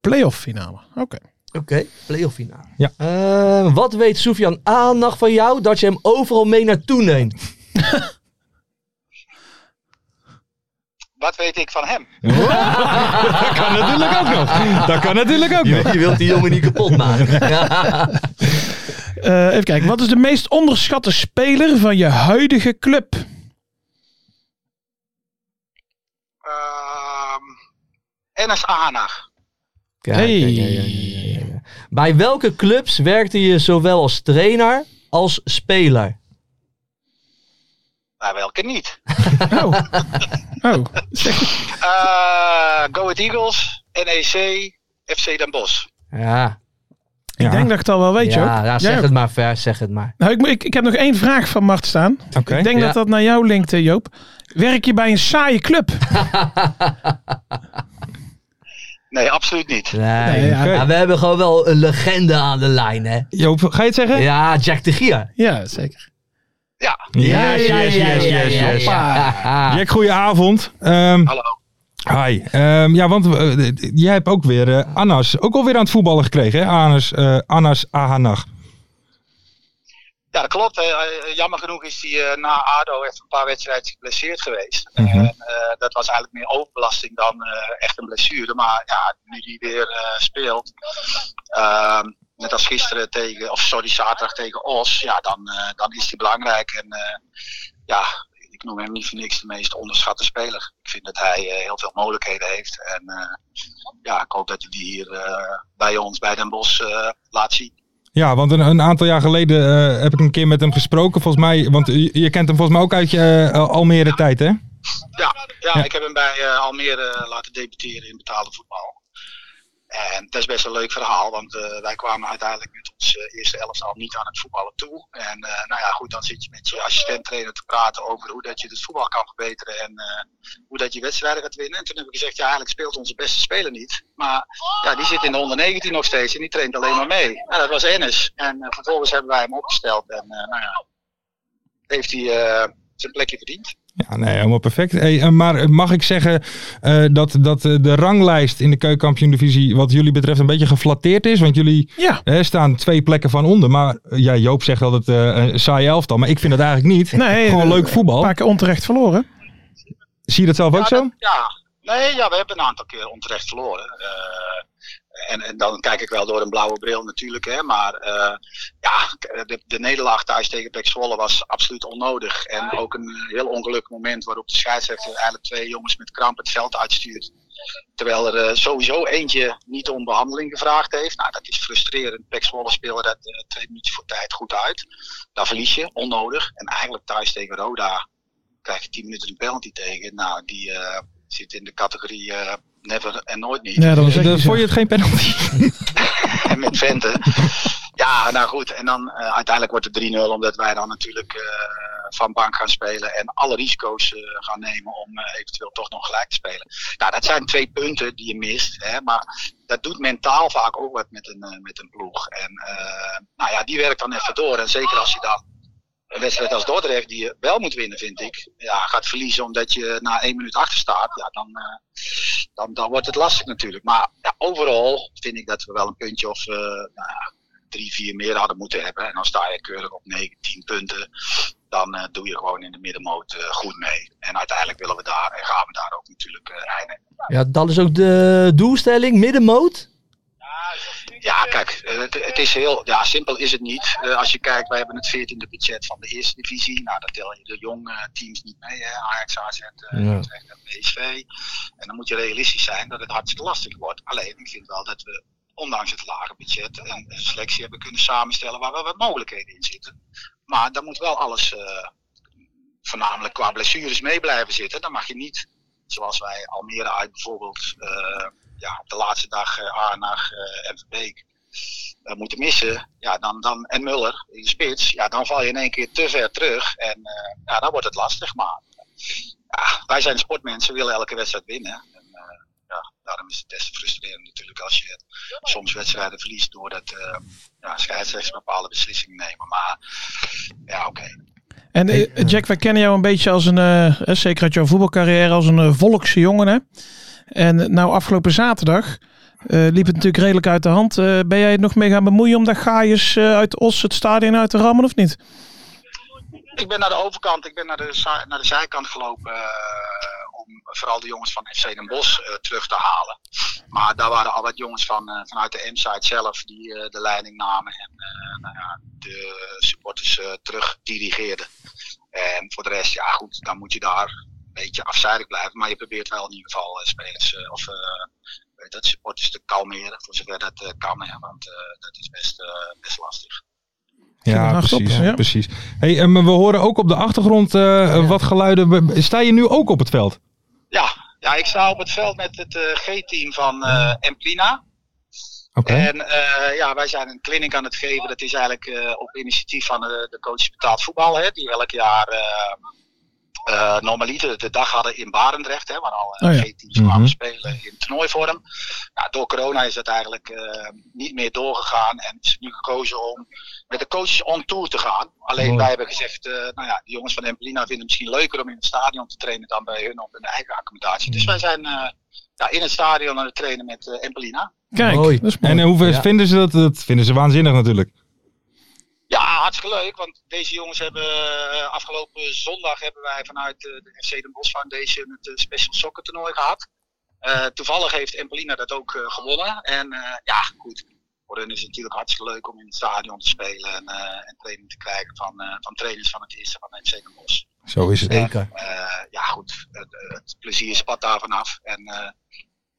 Playoff finale. Oké. Oké, playoff finale. Ja. Ehm, wat weet Sofian Aandag van jou dat je hem overal mee naartoe neemt? Wat weet ik van hem? Kan natuurlijk ook nog. Dat kan natuurlijk ook nog. Je wilt die jongen niet kapot maken. Eh, even kijken. Wat is de meest onderschatte speler van je huidige club? Ehm Enes Ahanag. Kijk, Hey. kijk, kijk, kijk, kijk, kijk, kijk. Bij welke clubs werkte je zowel als trainer als speler? Maar Nou, welke niet? Oh. Oh. Eh Go Ahead Eagles, E NEC, FC Den Bosch. Ja, Ik denk dat ik het al wel weet, ja, joh. ja, zeg het maar, Ver, zeg het maar. Nou, ik, moet- ik, ik heb nog één vraag van Mart staan. Oké. Ik denk Ja. dat dat naar jou linkt, eh, Joop. Werk je bij een saaie club? Nee, absoluut niet. Nee, Nee, ja. maar we hebben gewoon wel een legende aan de lijn, hè? Joop, ga je het zeggen? Ja, Jack de Gier. Ja, zeker. Ja, Yes, yes, yes, yes, yes. Hoppa. Jack, goedenavond. Ehm hallo. hi. Ehm, ja, want eh, eh, jij hebt ook weer eh, Annas, ook alweer aan het voetballen gekregen, hè? Annas, eh Annas Ahanag. Ja, dat klopt. Eh, eh, Jammer genoeg is hij eh, na ADO echt een paar wedstrijden geblesseerd geweest. Mhm. En, eh, dat was eigenlijk meer overbelasting dan eh, echt een blessure. Maar ja, nu hij weer eh, speelt, ehm, net als gisteren tegen, of sorry, zaterdag tegen Os, ja, dan, eh, dan is hij belangrijk. En eh, ja, ik noem hem niet voor niks de meest onderschatte speler. Ik vind dat hij eh, heel veel mogelijkheden heeft. En eh, ja, ik hoop dat hij die hier eh, bij ons, bij Den Bosch, eh, laat zien. Ja, want een, een aantal jaar geleden eh, heb ik een keer met hem gesproken. Volgens mij, want je, je kent hem volgens mij ook uit je eh, Almere tijd, hè? Ja, ja, ik heb hem bij eh, Almere laten debuteren in betaalde voetbal. En dat is best een leuk verhaal, want eh, wij kwamen uiteindelijk met ons eh, eerste elftal niet aan het voetballen toe. En eh, nou ja, goed, dan zit je met je assistent-trainer te praten over hoe dat je het voetbal kan verbeteren en eh, hoe dat je wedstrijden gaat winnen. En toen heb ik gezegd, ja, eigenlijk speelt onze beste speler niet. Maar ja, die zit in de 119 nog steeds en die traint alleen maar mee. Nou, dat was Ennis. En eh, vervolgens hebben wij hem opgesteld en eh, nou ja, heeft hij eh, zijn plekje verdiend. Ja, nee, helemaal perfect. Hey, eh, maar eh, mag ik zeggen eh, dat, dat eh, de ranglijst in de keukenkampioen-divisie wat jullie betreft een beetje geflatteerd is? Want jullie eh, saan twee plekken van onder. Maar eh, ja, Joop zegt altijd eh een saaie elftal, maar ik vind dat eigenlijk niet. Gewoon leuk voetbal. eh, Een paar keer onterecht verloren. Zie je dat zelf ook ja, zo? dat- ja. Nee, ja, we hebben een aantal keer onterecht verloren. Eh, en, en dan kijk ik wel door een blauwe bril natuurlijk. Hè, maar eh, ja, de, de nederlaag thuis tegen Pek Zwolle was absoluut onnodig. En ook een eh, heel ongelukkig moment waarop de scheidsrechter eigenlijk twee jongens met kramp het veld uitstuurt. Terwijl er eh, sowieso eentje niet om behandeling gevraagd heeft. Nou, dat is frustrerend. Pek Zwolle speelde dat eh, twee minuten voor tijd goed uit. Daar verlies je, onnodig. En eigenlijk thuis tegen Roda krijg je 10 minuten een penalty tegen. Nou, die eh, zit in de categorie eh, never en nooit niet. Ja, dan, eh, vond je het geen penalty. En met Vente. Ja, nou goed. En dan eh, uiteindelijk wordt het 3-0, omdat wij dan natuurlijk eh, van bank gaan spelen en alle risico's eh, gaan nemen om eh, eventueel toch nog gelijk te spelen. Nou, dat zijn twee punten die je mist, hè, maar dat doet mentaal vaak ook wat met een, eh, met een ploeg. En eh, nou ja, die werkt dan even door. En zeker als je dan een wedstrijd als Dordrecht, die je wel moet winnen, vind ik, ja, gaat verliezen omdat je na één minuut achter staat, ja, dan, eh, dan, dan wordt het lastig natuurlijk. Maar ja, overal vind ik dat we wel een puntje of eh, nou ja, drie, vier meer hadden moeten hebben. En dan sta je keurig op 19 punten. Dan eh, doe je gewoon in de middenmoot eh, goed mee. En uiteindelijk willen we daar en gaan we daar ook natuurlijk eh, eindigen. Ja, dat is ook de doelstelling. Middenmoot. Ja, kijk, eh, het, het is heel ja, simpel is het niet. Eh, als je kijkt, wij hebben het 14e budget van de eerste divisie. Nou, dan tel je de jonge teams niet mee. Hè? Ajax, AZ, eh, Ja. Utrecht en PSV. En dan moet je realistisch zijn dat het hartstikke lastig wordt. Alleen, ik vind wel dat we, ondanks het lage budget, een, een selectie hebben kunnen samenstellen waar wel wat mogelijkheden in zitten. Maar dan moet wel alles, eh, voornamelijk qua blessures, mee blijven zitten. Dan mag je niet, zoals wij Almere uit bijvoorbeeld, eh, ja, op de laatste dag eh Arnag eh, en Verbeek eh, moeten missen. Ja, dan, dan, en Muller in de spits. Ja, dan val je in één keer te ver terug. En eh, ja, dan wordt het lastig. Maar ja, wij zijn sportmensen, willen elke wedstrijd winnen. En, eh, ja, daarom is het des te frustrerend natuurlijk als je soms wedstrijden verliest doordat eh ja, scheidsrechters bepaalde beslissingen nemen. Maar ja, oké. En eh, Jack, wij kennen jou een beetje als een, eh, eh, zeker uit jouw voetbalcarrière, als een eh, volkse jongen. Hè? En nou, afgelopen zaterdag eh, liep het natuurlijk redelijk uit de hand. Eh, ben jij het nog mee gaan bemoeien om dat gaaiers eh, uit Os het stadion uit te rammen of niet? Ik ben naar de overkant, ik ben naar de, za- naar de zijkant gelopen eh, om vooral de jongens van FC Den Bosch eh, terug te halen. Maar daar waren al wat jongens van, eh, vanuit de M-site zelf die eh, de leiding namen en eh, nou ja, de supporters eh, terug dirigeerden. En voor de rest, ja goed, dan moet je daar een beetje afzijdig blijven. Maar je probeert wel in ieder geval eh, spelers eh, of eh, weet dat, supporters te kalmeren, voor zover dat eh, kan. Hè, want eh, dat is best, eh, best lastig. Ja, hard op, precies. ja. precies. Hey, eh, maar we horen ook op de achtergrond eh, wat geluiden. We- Sta je nu ook op het veld? Ja, ja, ik sta op het veld met het eh, G-team van eh Emplina. Oké. En eh, ja, wij zijn een clinic aan het geven. Dat is eigenlijk eh, op initiatief van eh, de coaches betaald voetbal. Hè, die elk jaar eh, eh, normaliter de dag hadden in Barendrecht. Hè, waar al eh, Oh ja. G-teams kwamen Mhm. spelen in toernooivorm. Nou, door corona is dat eigenlijk eh, niet meer doorgegaan. En is nu gekozen om met de coaches on tour te gaan. Alleen Mooi. wij hebben gezegd, eh, nou ja, de jongens van Emplina vinden het misschien leuker om in het stadion te trainen dan bij hun op hun eigen accommodatie. Mhm. Dus wij zijn eh, ja, in het stadion aan het trainen met eh Emplina. Kijk, dat is mooi. En eh, hoeveel Ja. vinden ze dat? Dat vinden ze waanzinnig natuurlijk. Ja, hartstikke leuk, want deze jongens hebben eh, afgelopen zondag hebben wij vanuit eh, de FC Den Bosch Foundation het eh, Special Soccer toernooi gehad. Eh, toevallig heeft Empelina dat ook eh, gewonnen. En eh, ja, goed. Voor hen is het natuurlijk hartstikke leuk om in het stadion te spelen en, eh, en training te krijgen van, eh, van trainers van het eerste van FC Den Bosch. Zo is het. Zeker. ja, goed. Het, het plezier spat daar vanaf. En eh,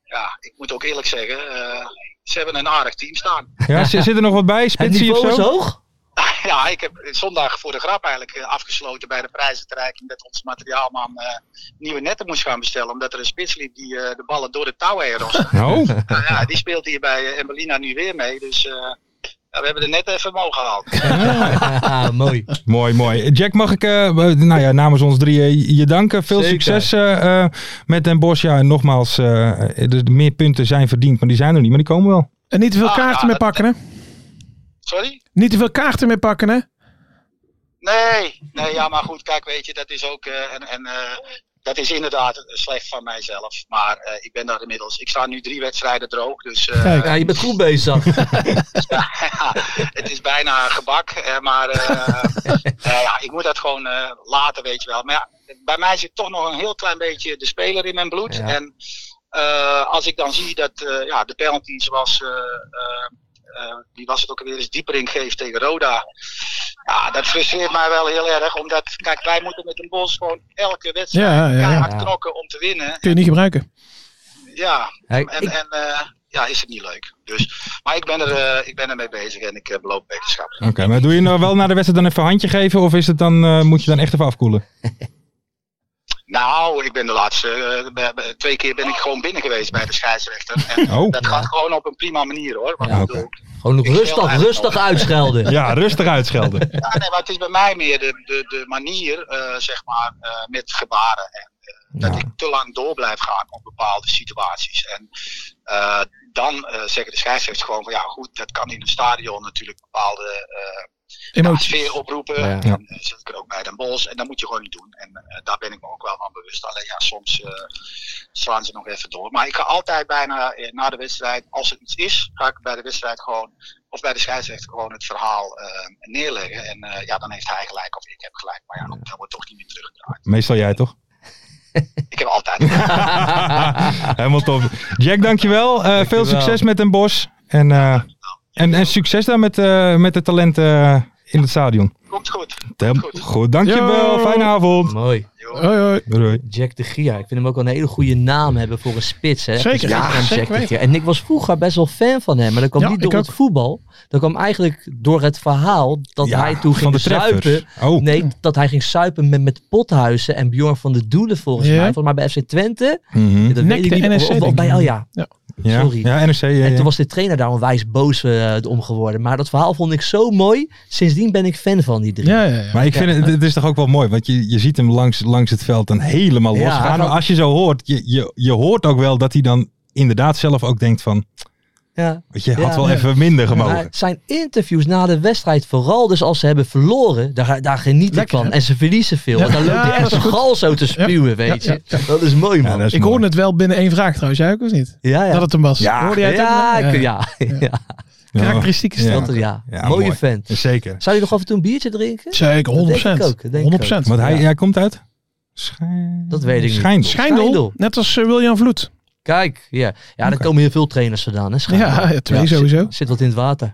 ja, ik moet ook eerlijk zeggen, eh, ze hebben een aardig team staan. Ja, zit zit er nog wat bij? Spitsie of zo? Ja, ik heb zondag voor de grap eigenlijk eh, afgesloten bij de prijzenverrijking dat onze materiaalman eh, nieuwe netten moest gaan bestellen. Omdat er een spits liep die eh, de ballen door de touw heen roste. Oh. Nou ja, die speelt hier bij eh, Embelina nu weer mee. Dus eh, ja, we hebben er net even omhoog gehaald. mooi. mooi, mooi. Jack, mag ik eh, nou ja, namens ons drieën je danken. Veel Zeker. succes eh, eh, met Den Bosch. Ja, en nogmaals, eh, de de meer punten zijn verdiend, maar die zijn er niet, maar die komen wel. En niet te veel Ah, kaarten ja, meer dat- pakken, hè? Sorry? Niet te veel kaarten meer pakken, hè? Nee, nee, ja, maar goed, kijk, weet je, dat is ook. eh, en, en, eh, dat is inderdaad slecht van mijzelf. Maar eh, ik ben daar inmiddels. Ik sta nu drie wedstrijden droog. Dus eh, Ja, je bent goed bezig. ja, het is bijna een gebak. eh, maar eh, nou ja, ik moet dat gewoon eh, laten, weet je wel. Maar ja, bij mij zit toch nog een heel klein beetje de speler in mijn bloed. Ja. En eh, als ik dan zie dat eh, ja, de penalty zoals... eh, eh, eh, die was het ook weer eens diepering geeft tegen Roda. Ja, dat frustreert mij wel heel erg. Omdat, kijk, wij moeten met een bos gewoon elke wedstrijd Ja, ja, ja. keihard Ja. knokken om te winnen. Kun je niet gebruiken. Ja, Hey, en, ik- en eh, ja, is het niet leuk. Dus, maar ik ben, er, eh, ik ben ermee bezig en ik eh, beloop wetenschap. Oké, maar doe je nou wel na de wedstrijd dan even een handje geven? Of is het dan, eh, moet je dan echt even afkoelen? Nou, ik ben de laatste eh, bij- bij- twee keer ben ik gewoon binnen geweest bij de scheidsrechter. En Oh. dat gaat gewoon op een prima manier hoor. Want ik bedoel, Gewoon Ik scheld rustig, eigenlijk rustig nog. uitschelden. Ja, rustig uitschelden. ja, nee, maar het is bij mij meer de, de, de manier, eh, zeg maar, eh, met gebaren. En, eh, dat ik te lang door blijf gaan op bepaalde situaties. En eh, dan eh, zeggen de scheidsrechters gewoon van ja, goed, dat kan in een stadion natuurlijk bepaalde eh, Emoties. sfeer oproepen. Ja. En, Ja. eh, zit ik er ook bij Den Bosch. En dat moet je gewoon niet doen. En eh, daar ben ik me ook wel van bewust. Alleen ja, soms eh, slaan ze nog even door. Maar ik ga altijd bijna eh, na de wedstrijd, als er iets is, ga ik bij de wedstrijd gewoon, of bij de scheidsrechter gewoon het verhaal eh, neerleggen. En eh, ja, dan heeft hij gelijk of ik heb gelijk. Maar ja, dat wordt toch niet meer teruggedraaid. Meestal jij toch? Ik heb altijd gelijk. Helemaal top. Jack, dankjewel. Eh Veel succes met Den Bosch. En, eh, en, en succes daar met, eh, met de talenten eh, in het stadion. Komt goed. Tem- goed. dankjewel. Yo. Fijne avond. Mooi. Hoi, hoi. Doei. Jack de Gier. Ik vind hem ook wel een hele goede naam hebben voor een spits. Hè? Zeker, Een ja, spitsnaam, zeker Jack de weten. Gier. En ik was vroeger best wel fan van hem. Maar dat kwam Ja, niet ik door het ook. voetbal. Dat kwam eigenlijk door het verhaal dat Ja, hij toen van ging de treffers. suipen. Oh. Nee, dat hij ging suipen met, met Pothuizen en Bjorn van de Doelen volgens Ja. Hm. mij. Volgens mij bij FC Twente. Mhm. Dat Nek weet ik de niet. NSC, Of- of, denk ik. bij, oh ja, Ja. Ja, Sorry. ja NRC. Ja, En ja. toen was de trainer daar onwijs boos eh, om geworden. Maar dat verhaal vond ik zo mooi. Sindsdien ben ik fan van die drie. Ja, ja, ja. Maar ik vind het, het is toch ook wel mooi, want je, je ziet hem langs, langs het veld dan helemaal Ja, losgaan. hij- Als je zo hoort, je, je, je hoort ook wel dat hij dan inderdaad zelf ook denkt van, Ja. weet je, Ja, had wel ja. even minder Maar gemogen. zijn interviews na de wedstrijd, vooral dus als ze hebben verloren, daar, daar geniet Lekker, ik van. hè? En ze verliezen veel. Ja. En dan loopt Ja, hij echt dat is goed. gal zo te spuwen, weet ja, je. Dat is mooi, Ja, man. dat is Ik mooi. hoorde het wel binnen één vraag trouwens. Jij ook of niet? Ja, ja. Dat het hem was. Ja. Hoorde jij ja, het ja, ook? ja. ja. Ja. Karakteristieke Ja. stem. Dat- ja. Ja, Mooie mooi. fan. eh, Zeker. Zou je nog af en toe een biertje drinken? Zeker, 100%. Dat denk ik ook, dat denk ik 100%. Want hij, Ja. hij komt uit? Schijn... Dat weet ik niet. Schijndel. Schijndel, Schijndel. net als eh, William Vloed. Kijk, ja. Ja, daar Oké. komen heel veel trainers vandaan, hè. schijnbaar. Ja, ja, twee zit- sowieso. Zit, wat in het water.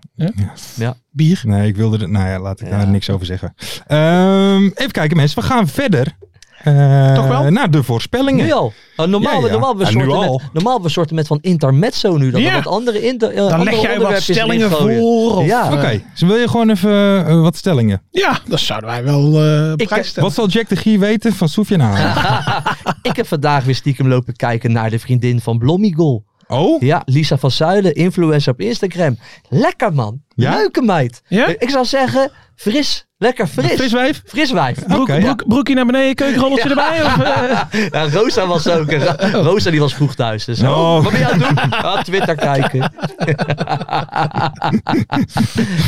Bier. Nee, ik wilde er... Nou ja, laat ik daar Ja. niks over zeggen. Ehm, even kijken mensen, we gaan verder. eh, Toch wel? Naar de voorspellingen. Nu al. Nou, normaal, Ja, ja. normaal, we Ja, nu soorten al. met, normaal we soorten met van intermezzo nu. Dan Ja. wat andere inter, eh, Dan andere leg jij wat onderwerpjes erin stellingen gooien. voor. of, Ja. eh, Oké, dus wil je gewoon even eh, wat stellingen? Ja, dat zouden wij wel eh, op Ik- prijs stellen. Wat zal Jack de Gier weten van Soefje Nahal? Ik heb vandaag weer stiekem lopen kijken naar de vriendin van Blommigol. Oh? Ja, Lisa van Zuilen, influencer op Instagram. Lekker man. Ja? Leuke meid. Ja? Ik zou zeggen, fris. Lekker fris. Fris wijf? Fris wijf. Oké. Broek, broek- broekje naar beneden, keukenrolletje erbij. Of, eh, Ja, Rosa was ook. Oh. Rosa die was vroeg thuis. Dus, Oh. Wat ben je aan het doen? Ah, Twitter kijken.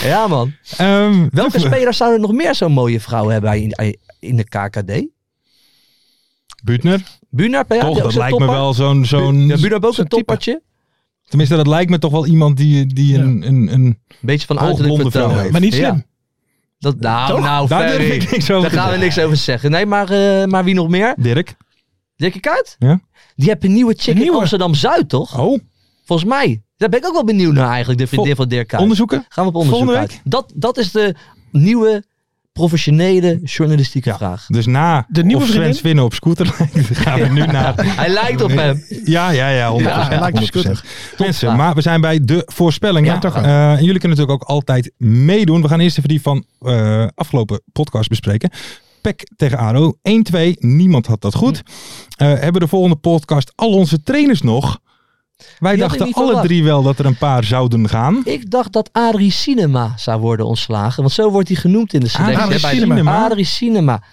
ja man. Ehm, Welke even- spelers zouden nog meer zo'n mooie vrouw hebben in, in de KKD? Buutner? Bunar, ben jij- Toch, ook dat zo'n lijkt me topper? wel zo'n... zo'n Ja, Bunar ook zo'n een type. toppertje. Tenminste, dat lijkt me toch wel iemand die, die een... een, een Een beetje van Hoogblonde uiterlijk vrouw vertoon. heeft. maar niet slim. Ja. Dat, nou, Toch? nou eh, Daar verder. durf ik niks over Daar te gaan we zeggen. niks over zeggen. Nee, maar, eh, maar wie nog meer? Dirk? Dirk Kuyt? Ja. Die heeft een nieuwe chick Een nieuwe? in Amsterdam-Zuid, toch? Oh? Volgens mij. Daar ben ik ook wel benieuwd naar eigenlijk, de vriendin van Dirk Kuyt. onderzoeken? Gaan we op onderzoek Volgende uit. Dat, dat is de nieuwe professionele journalistieke vraag. Dus na de nieuwe of Sven vriendin? Swinnen op scooter lijkt, gaan we nu naar... Hij lijkt op hem. Ja, ja, ja, 100%. Ja, hij lijkt op 100%. scooter. Mensen, maar we zijn bij de voorspellingen. Ja, toch wel. Eh, en jullie kunnen natuurlijk ook altijd meedoen. We gaan eerst even die van eh, afgelopen podcast bespreken. Pek tegen ADO. 1-2. Niemand had dat goed. Eh, hebben de volgende podcast al onze trainers nog? Wij Die had ik dachten niet alle verwacht. drie wel dat er een paar zouden gaan. Ik dacht dat Adrie Cinema zou worden ontslagen. Want zo wordt hij genoemd in de selectie. Adrie hè, bij de- Cinema? Adrie Cinema.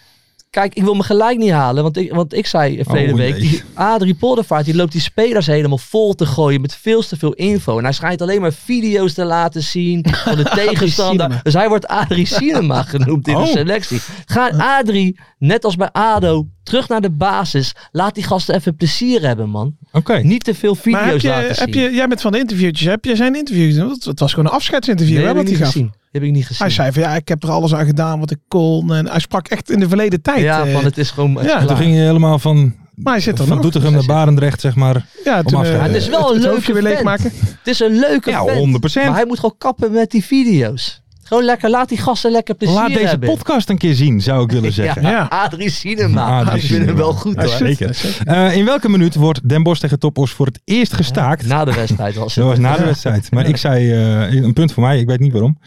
Kijk, ik wil me gelijk niet halen. Want ik, want ik zei eh, verleden Oh, week. nee. Die Adrie Poldervaart die loopt die spelers helemaal vol te gooien. Met veel te veel info. En hij schijnt alleen maar video's te laten zien. Van de tegenstander. Cinema. Dus hij wordt Adrie Cinema genoemd in Oh. de selectie. Ga Adrie, net als bij Ado, terug naar de basis. Laat die gasten even plezier hebben, man. Oké. Niet te veel Maar heb video's je, laten zien. heb je, jij bent van de interviewtjes. Heb je zijn interview gezien? Want Het was gewoon een afscheidsinterview Nee, hè, heb ik wat niet hij gaf. gezien. Heb ik niet gezien. Hij zei van ja, ik heb er alles aan gedaan wat ik kon. En hij sprak echt in de verleden tijd. Ja, eh. van het is gewoon. het is ja, klaar. Toen ging je helemaal van, maar hij zit er van nog. Doetinchem naar Barendrecht, zeg maar. Ja, toen, af te- eh, Ja, het is wel een het, leuke hoofdje weer vent. leegmaken. Het is een leuke Ja, vent. 100%. Maar hij moet gewoon kappen met die video's. Gewoon lekker, laat die gasten lekker plezier Laat deze hebben. podcast een keer zien, zou ik willen zeggen. Ja, Ja. Adrie Cinema. Adrie ik vind hem Cinema. wel goed Ja, hoor. zeker. Eh, in welke minuut wordt Den Bosch tegen Topos voor het eerst gestaakt? Na de wedstrijd was Dat het. was na de wedstrijd. Maar ik zei eh, een punt voor mij, ik weet niet waarom.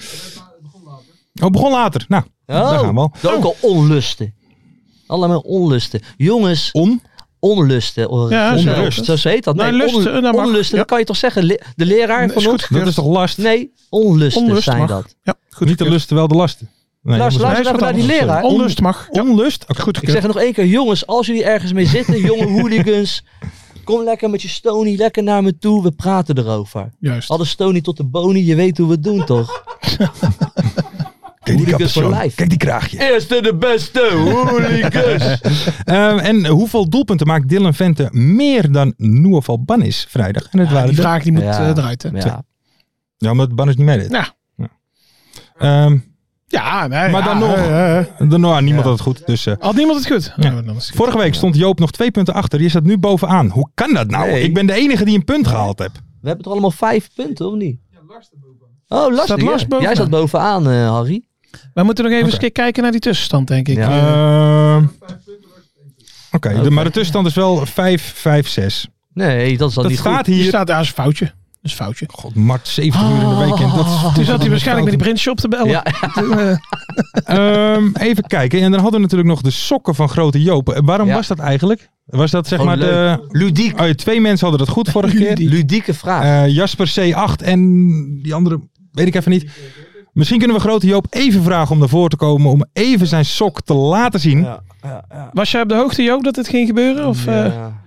Oh, het begon later. Nou, daar gaan we al. Oh, Oh. Ook al onlusten. Allemaal onlusten. Jongens, On? onlusten. Oh, Ja, zo- onrust. Zo, zo heet dat. Nee, Nou, lusten, on- dat mag. onlusten. Ja. Dat kan je toch zeggen. Le- De leraar van Is ons. goed Dat is toch last? Nee, onlusten Onlust zijn mag. dat. Ja, goed. niet de lust, wel de lasten. Nee, Lars, jongens, Lars, is even wat naar die anders. leraar. Onlust mag. Ja. Onlust? Oké, goed Ik zeg het nog één keer, jongens, als jullie ergens mee zitten, jonge hooligans, kom lekker met je Stony, lekker naar me toe, we praten erover. Juist. Alle Stony tot de Boni, je weet hoe we het doen toch? Kijk die hooligans voor capuchon. lijf. Kijk die kraagje. Eerste de beste hooligans. Ehm, en hoeveel doelpunten maakt Dylan Vente meer dan Noah Valbanis vrijdag? En het Ja, waren die de... vraag die moet Ja. eh, eruit. Hè. Ja, Ja, omdat Bannis niet meedeed. Ja. Ehm, Ja, nee, Maar ja, dan nog. eh, eh. dan- nou, niemand had het goed. Dus, eh, Had niemand het goed? Nou, dan is het goed. vorige week stond Joop nog twee punten achter. Je staat nu bovenaan. Hoe kan dat nou? Nee. Ik ben de enige die een punt gehaald heb. we hebben toch allemaal vijf punten, of niet? Oh, Staat lastig. Lars ja. Jij bovenaan? zat bovenaan, eh, Harry. We moeten nog even Oké. eens een keer kijken naar die tussenstand, denk ik. Ja. Eh, Ehm, Oké, de- Oké. maar de tussenstand is wel 5, 5, 6. Nee, dat is dan Dat niet goed. staat hier hier. staat daar is een foutje. Dat is een foutje. God, Mart, 70 uur in de week. En Dus dat is- Toen zat hij waarschijnlijk met die printshop te bellen. Ja, eh. Ehm, even kijken. En dan hadden we natuurlijk nog de sokken van grote Joop. Eh, Waarom Ja. was dat eigenlijk? Was dat zeg Gewoon maar de... ludiek. Oh, ja, twee mensen hadden dat goed vorige keer. Ludieke vraag. Eh, Jasper C8 en die andere weet ik even niet. Misschien kunnen we grote Joop even vragen om naar voren te komen. Om even zijn sok te laten zien. Ja. Was jij op de hoogte, Joop, dat het ging gebeuren? Of eh, Ja.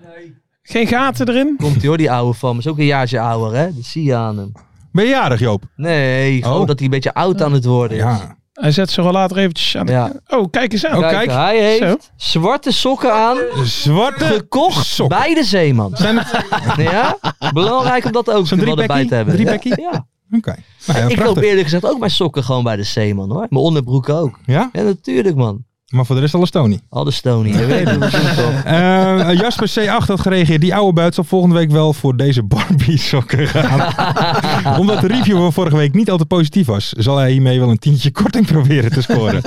geen gaten erin? Komt hij hoor, die ouwe van me. Is ook een jaartje ouder, hè? Dat zie je aan hem. Ben je jarig Joop? Nee, gewoon Oh. dat hij een beetje oud aan het worden is. Ja. Hij zet zijn later eventjes aan. de- Ja. Oh, kijk eens aan. Oh, Kijk, kijk. hij heeft Zo. zwarte sokken aan, Zwarte gekocht sokken. bij de Zeeman. Ja? Belangrijk om dat ook Zo'n er wel driebekkie? erbij te hebben. Driebekkie? Ja. Ja. Oké. Nou ja, ik prachtig. loop eerlijk gezegd ook mijn sokken gewoon bij de Zeeman hoor. Mijn onderbroek ook. Ja? Ja, natuurlijk man. Maar voor de rest alles Tony. Al de Stony. Je weet hoe we doen toch? Eh, Jasper C8 had gereageerd. Die oude buit zal volgende week wel voor deze Barbie sokken gaan. Omdat de review van vorige week niet al te positief was, zal hij hiermee wel een tientje korting proberen te scoren.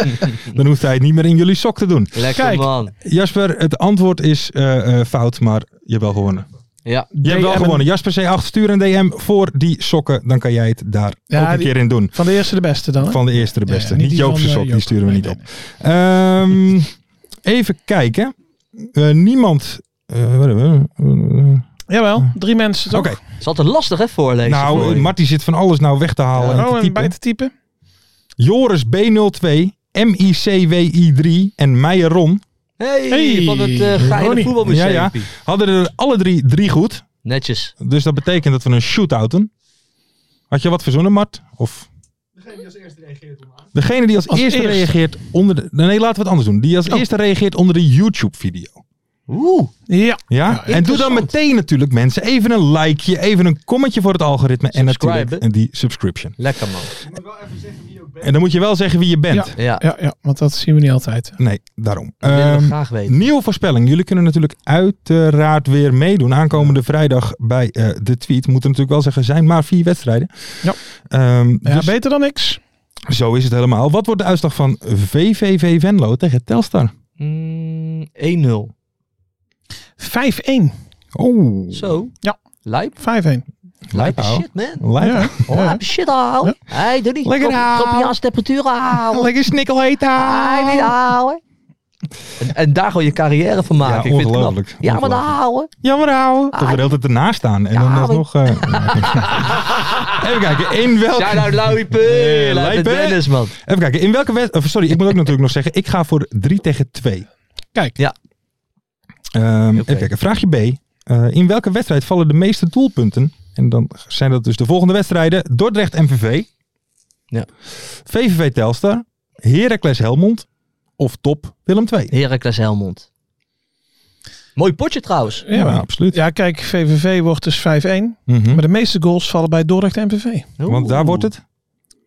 Dan hoeft hij het niet meer in jullie sok te doen. Lekker Kijk. man. Jasper, het antwoord is eh, eh, fout, maar je hebt wel gewonnen. Ja. Je hebt wel DM. gewonnen. Jasper C8, stuur een DM voor die sokken. Dan kan jij het daar Ja, ook een die- keer in doen. Van de eerste de beste dan. hè? Van de eerste de Ja, ja, beste. niet die Joopse van, eh, sok, die Joop. sturen we Nee, niet op. Ehm, nee, even kijken. Eh, niemand... eh, wat hebben we? Eh, nee. Jawel, drie mensen toch? Oké, Het is altijd lastig hè voorlezen. voor nou, je. Marty zit van alles nou weg te halen en Oh, te en bij typen. te typen. Joris B02, MICWI3 en Meijer Ron Hey, Hey, van het eh geile Ronnie. voetbalmuseum. Ja, ja. hadden er alle drie drie goed. Netjes. Dus dat betekent dat we een shootouten. Had je wat verzonnen, Mart? Of Degene die als eerste reageert om aan. degene die als, Als eerste eerste. reageert onder de... Nee, laten we het anders doen. Die als eerste reageert onder de YouTube-video. Oeh. Ja. ja. En doe dan meteen natuurlijk mensen even een likeje, even een commentje voor het algoritme. En natuurlijk die subscription. Lekker man. En dan moet je wel zeggen wie je bent. Ja, ja. ja want dat zien we niet altijd. Nee, daarom. Dat willen we Ehm, graag weten. Nieuwe voorspelling. Jullie kunnen natuurlijk uiteraard weer meedoen. Aankomende vrijdag bij eh, de tweet. Moeten natuurlijk wel zeggen, zijn maar vier wedstrijden. Ja. Ehm, Ja, dus beter dan niks. zo is het helemaal. Wat wordt de uitslag van VVV Venlo tegen Telstar? Mm, 1-0. 5-1. Oeh. Zo. Ja. Lijp. 5-1. Lijp ouwe. shit man. Lekker. Oh, shit al. Hey, doe niet. Lekker Kop- ouwe. Kopiaans temperatuur al. Lekker nou. snikkelheet aan. Hey, niet houden. En, en daar gewoon je carrière van maken. Ja, Ik vind het knap. ongelooflijk. Ja, maar Ongelooflijk. daar houden. Jammer houden. Toch weer altijd ernaast staan. En dan maar- alsnog... eh, Even kijken, in welke... Shout out Louis Peul. Eh, uit de Lijp, hè? Dennis man. Even kijken, in welke wedstrijd... Sorry, ik moet ook natuurlijk nog zeggen, ik ga voor 3 tegen 2. Kijk. Ja. Ehm, Oké. Even kijken, vraagje B. Eh, in welke wedstrijd vallen de meeste doelpunten? En dan zijn dat dus de volgende wedstrijden. Dordrecht MVV. Ja. VVV Telstar. Heracles Helmond. Of top Willem II. Heracles Helmond. Mooi potje trouwens. Ja, maar- absoluut. ja, kijk, VVV wordt dus 5-1. Mhm. Maar de meeste goals vallen bij Dordrecht en MVV. Want daar wordt het...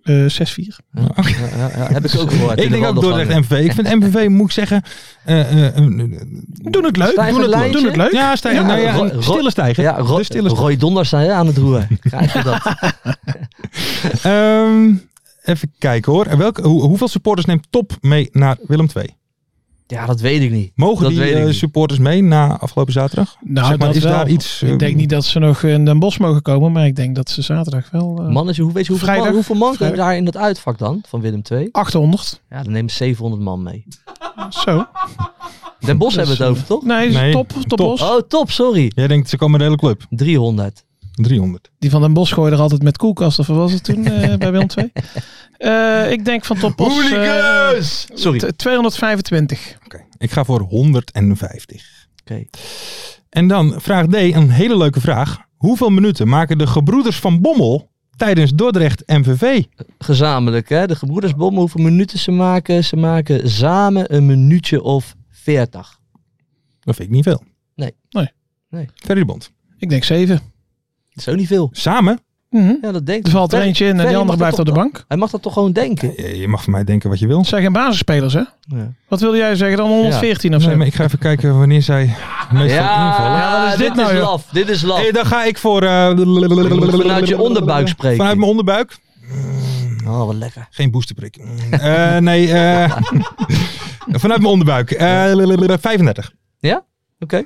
Eh 6-4. Ja, ja, ja, heb ik ook gehoord. in Ik de denk ook wandelgangen. Dordrecht MVV. Ik vind MVV, moet ik zeggen... eh, eh, eh, eh, Doen het leuk. Stijgen Doen het, leuk, lijntje. doen het leuk. ja, stijgen. Ja, nou ja, Ro- een stille stijgen. Ja, Ro de stille stijger. Roy Donders zijn hè, aan het roeren. Krijg je dat? Ehm, even kijken hoor. En welke, hoe- hoeveel supporters neemt Top mee naar Willem II? Ja, dat weet ik niet. Mogen Dat die weet ik eh, niet. supporters mee na afgelopen zaterdag? Nou, Zeg maar, dat is wel. daar iets, eh, ik denk niet dat ze nog in Den Bosch mogen komen, maar ik denk dat ze zaterdag wel... eh, Mannetje, hoe weet je hoeveel Vrijdag. man, hoeveel man kunnen Vrijdag. daar in dat uitvak dan? Van Willem II? 800. Ja, dan nemen ze 700 man mee. Zo. Den Bos hebben we het over, toch? Nee, dus Nee, top, top, top. Bos. Oh, top, sorry. Jij denkt ze komen de hele club. 300. 300. Die van Den Bosch gooide er altijd met koelkast, of wat was het toen eh, bij Willem II? Eh, ik denk van top Bos... eh, Sorry. Oké. t- 225. Oké, Ik ga voor 150. En dan vraag D, een hele leuke vraag. Hoeveel minuten maken de gebroeders van Bommel tijdens Dordrecht MVV? Gezamenlijk, hè? De gebroeders Bommen, hoeveel minuten ze maken? Ze maken samen een minuutje of 40. Dat vind ik niet veel. Nee. Nee. Nee. Ferry de Bond. Ik denk 7. Dat is ook niet veel. Samen? Mhm. Ja, dat denk ik. Er valt er Ferry- eentje in en Ferry die andere mag blijft op dat de toch- bank. Hij mag dat toch gewoon denken? Eh, Je mag van mij denken wat je wil. Het zijn geen basisspelers, hè? Ja. Wat wilde jij zeggen dan 114 of zo? Nee, maar ik ga even kijken wanneer zij meestal invallen. Ja, wat is dit dit nou, is joh? laf. Dit is laf. Hey, dan ga ik voor... eh, moet Oh. vanuit je onderbuik spreken. Vanuit mijn onderbuik. Oh, wat lekker. Geen boosterprik. Eh, nee, eh, vanuit mijn onderbuik. Eh, 35. Oké.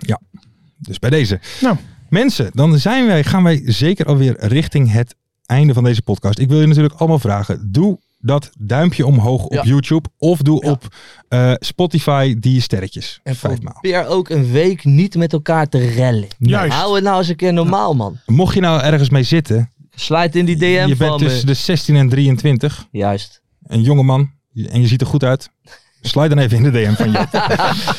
Dus bij deze. Nou. Mensen, dan zijn wij, gaan wij zeker alweer richting het einde van deze podcast. Ik wil je natuurlijk allemaal vragen. Doe dat duimpje omhoog op Ja. YouTube. Of doe Ja. op eh, Spotify die sterretjes. En Vijfmaal. probeer ook een week niet met elkaar te rellen. Juist. Hou het nou eens een keer normaal, man. Mocht je nou ergens mee zitten. Slijt in die DM je van bent dus tussen me. de 16 en 23. Juist. een jongeman en je ziet er goed uit. Sluit dan even in de DM van je.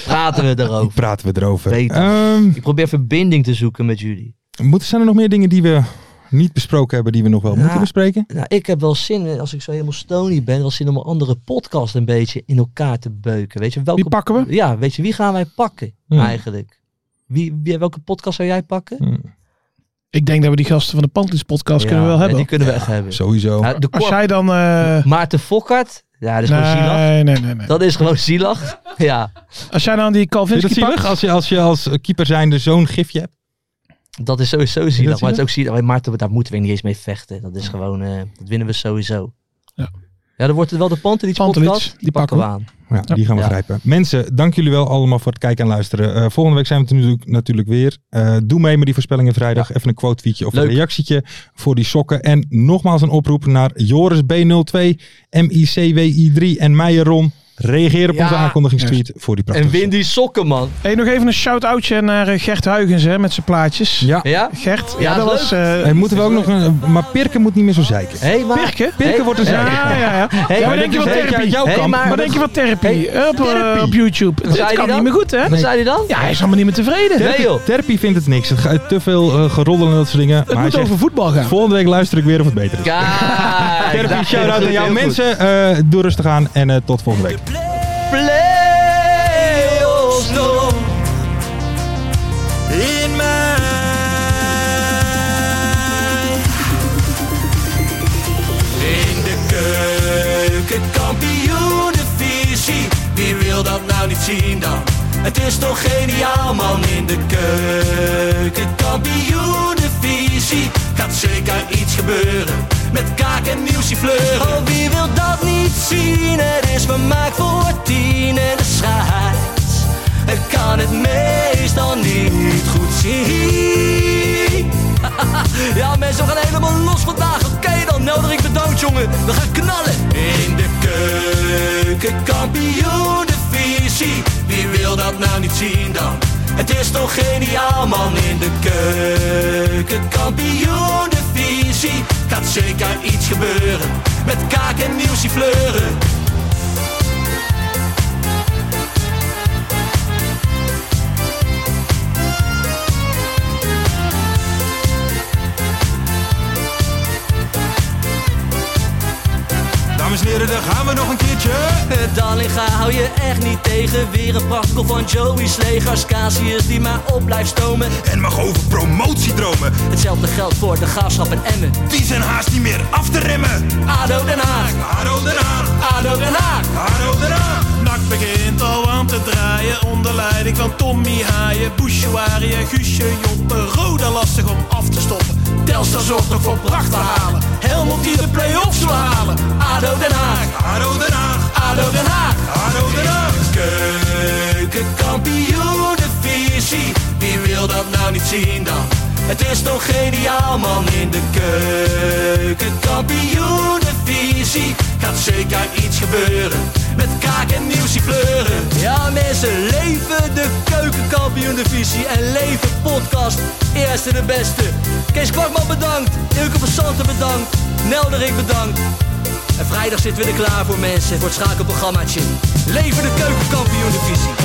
Praten we erover. Praten we erover. Oh, Beter. Ehm, Ik probeer verbinding te zoeken met jullie. moeten, zijn er nog meer dingen die we niet besproken hebben, die we nog wel Ja. moeten bespreken? Nou, ik heb wel zin, eh, als ik zo helemaal stony ben, wel zin om een andere podcast een beetje in elkaar te beuken. Weet je, welke... Die pakken we. Ja, weet je, wie gaan wij pakken Ja. eigenlijk? Wie, wie, welke podcast zou jij pakken? Hm, Ik denk dat we die gasten van de Pantelis podcast Ja, kunnen we wel ja, hebben. die kunnen we echt hebben. Sowieso. Nou, de Als kop- jij dan... eh, Maarten Fokkert. Ja, dat is gewoon zielig. nee, nee, nee, nee. Dat is gewoon zielig. Ja, Als jij Vind dan die je dat Calvinsky zielig pakt... als je als, je als keeper zijnde zo'n gifje hebt? dat is sowieso je zielig. dat Maar het is ook zielig. Maar Maarten, daar moeten we niet eens mee vechten. Dat is gewoon, eh, dat winnen we sowieso. Ja. Ja, dan wordt het wel de Pantelits Pantelits, podcast. die pakken we. aan. Ja, die gaan we Ja. grijpen. Mensen, dank jullie wel allemaal voor het kijken en luisteren. Eh, volgende week zijn we natuurlijk, natuurlijk weer. Eh, doe mee met die voorspellingen vrijdag. Even een quote tweetje of Leuk. een reactietje voor die sokken. En nogmaals een oproep naar Joris B02, MICWI3 en Meijeron. Reageer op Ja. onze aankondigingstweet voor die prachtige En win die sokken, man. Hey, nog even een shout-outje naar eh, Gert Huygens hè, met zijn plaatjes. Ja. Ja? Gert, ja, Ja, dat leuk. was... eh En moeten we ook nog een, maar Pirke moet niet meer zo zeiken. hey, maar... Pirke? Pirke Hey. wordt een zeiker. Ja, ja, ja. ja, Hey, maar maar denk je dit is van een therapie? beetje uit jouw Hey, kamp. maar Maar wat denk je van therapie? Hey, op, eh, therapie. op YouTube. Het het zei hij kan niet dan? meer goed, hè? Wat zei hij dan? Ja, hij is allemaal niet meer tevreden. Nee, joh. Terpie vindt het niks. Het gaat te veel eh, geroddel en dat soort dingen. Het maar hij moet zegt, over voetbal gaan. volgende week luister ik weer of het beter is. Kijk. Terpie, daar- shout-out aan heel jou. goed. Mensen, eh, doe rustig aan en eh, tot volgende week. Play-offs nog. nou niet zien dan. Het is toch geniaal man in de keuken. Kampioenenvisie gaat zeker iets gebeuren. Met kaak en nieuwsie fleuren. Oh wie wil dat niet zien? Het is vermaakt voor tien en de scheids. Ik kan het meestal niet goed zien. Ja mensen, we gaan helemaal los vandaag. Oké dan, nodig ik bedankt jongen. We gaan knallen. In de keuken, kampioen de visie. Wie wil dat nou niet zien dan? Het is toch geniaal man in de keuken, kampioen de visie. Gaat zeker iets gebeuren. Met kaak en nieuwsie fleuren. Dames en heren, daar gaan we nog een keertje. Eh, Dallinga hou je echt niet tegen. Weer een prachtkel van Joey's legers. Casius die maar op blijft stomen. En mag over promotiedromen. Hetzelfde geldt voor de gaafschap en Emmen. Die zijn haast niet meer af te remmen. ADO Den Haag. ADO Den Haag. ADO Den Haag. ADO Den Haag. Nak begint al aan te draaien onder leiding van Tommy Haaien, Bouchouari en Guusje Joppen. Roda lastig om af te stoppen. Telstar zorgt nog voor pracht te halen. Helmond die de play-offs wil halen. ADO Den Haag. ADO Den Haag. ADO Den Haag. ADO Den Haag. Keukenkampioenenvisie. Wie wil dat nou niet zien dan? Het is toch geniaal man in de keukenkampioenenvisie. Gaat zeker iets gebeuren. Met kaak en nieuwsie kleuren. Ja mensen, leven de keukenkampioenenvisie. En leven podcast. Eerste de beste. Kees Kwakman bedankt. Ilke van Santen bedankt. Nelderik bedankt. En vrijdag zitten we er klaar voor mensen, voor het schakelprogrammaatje. Leven de keukenkampioen divisie.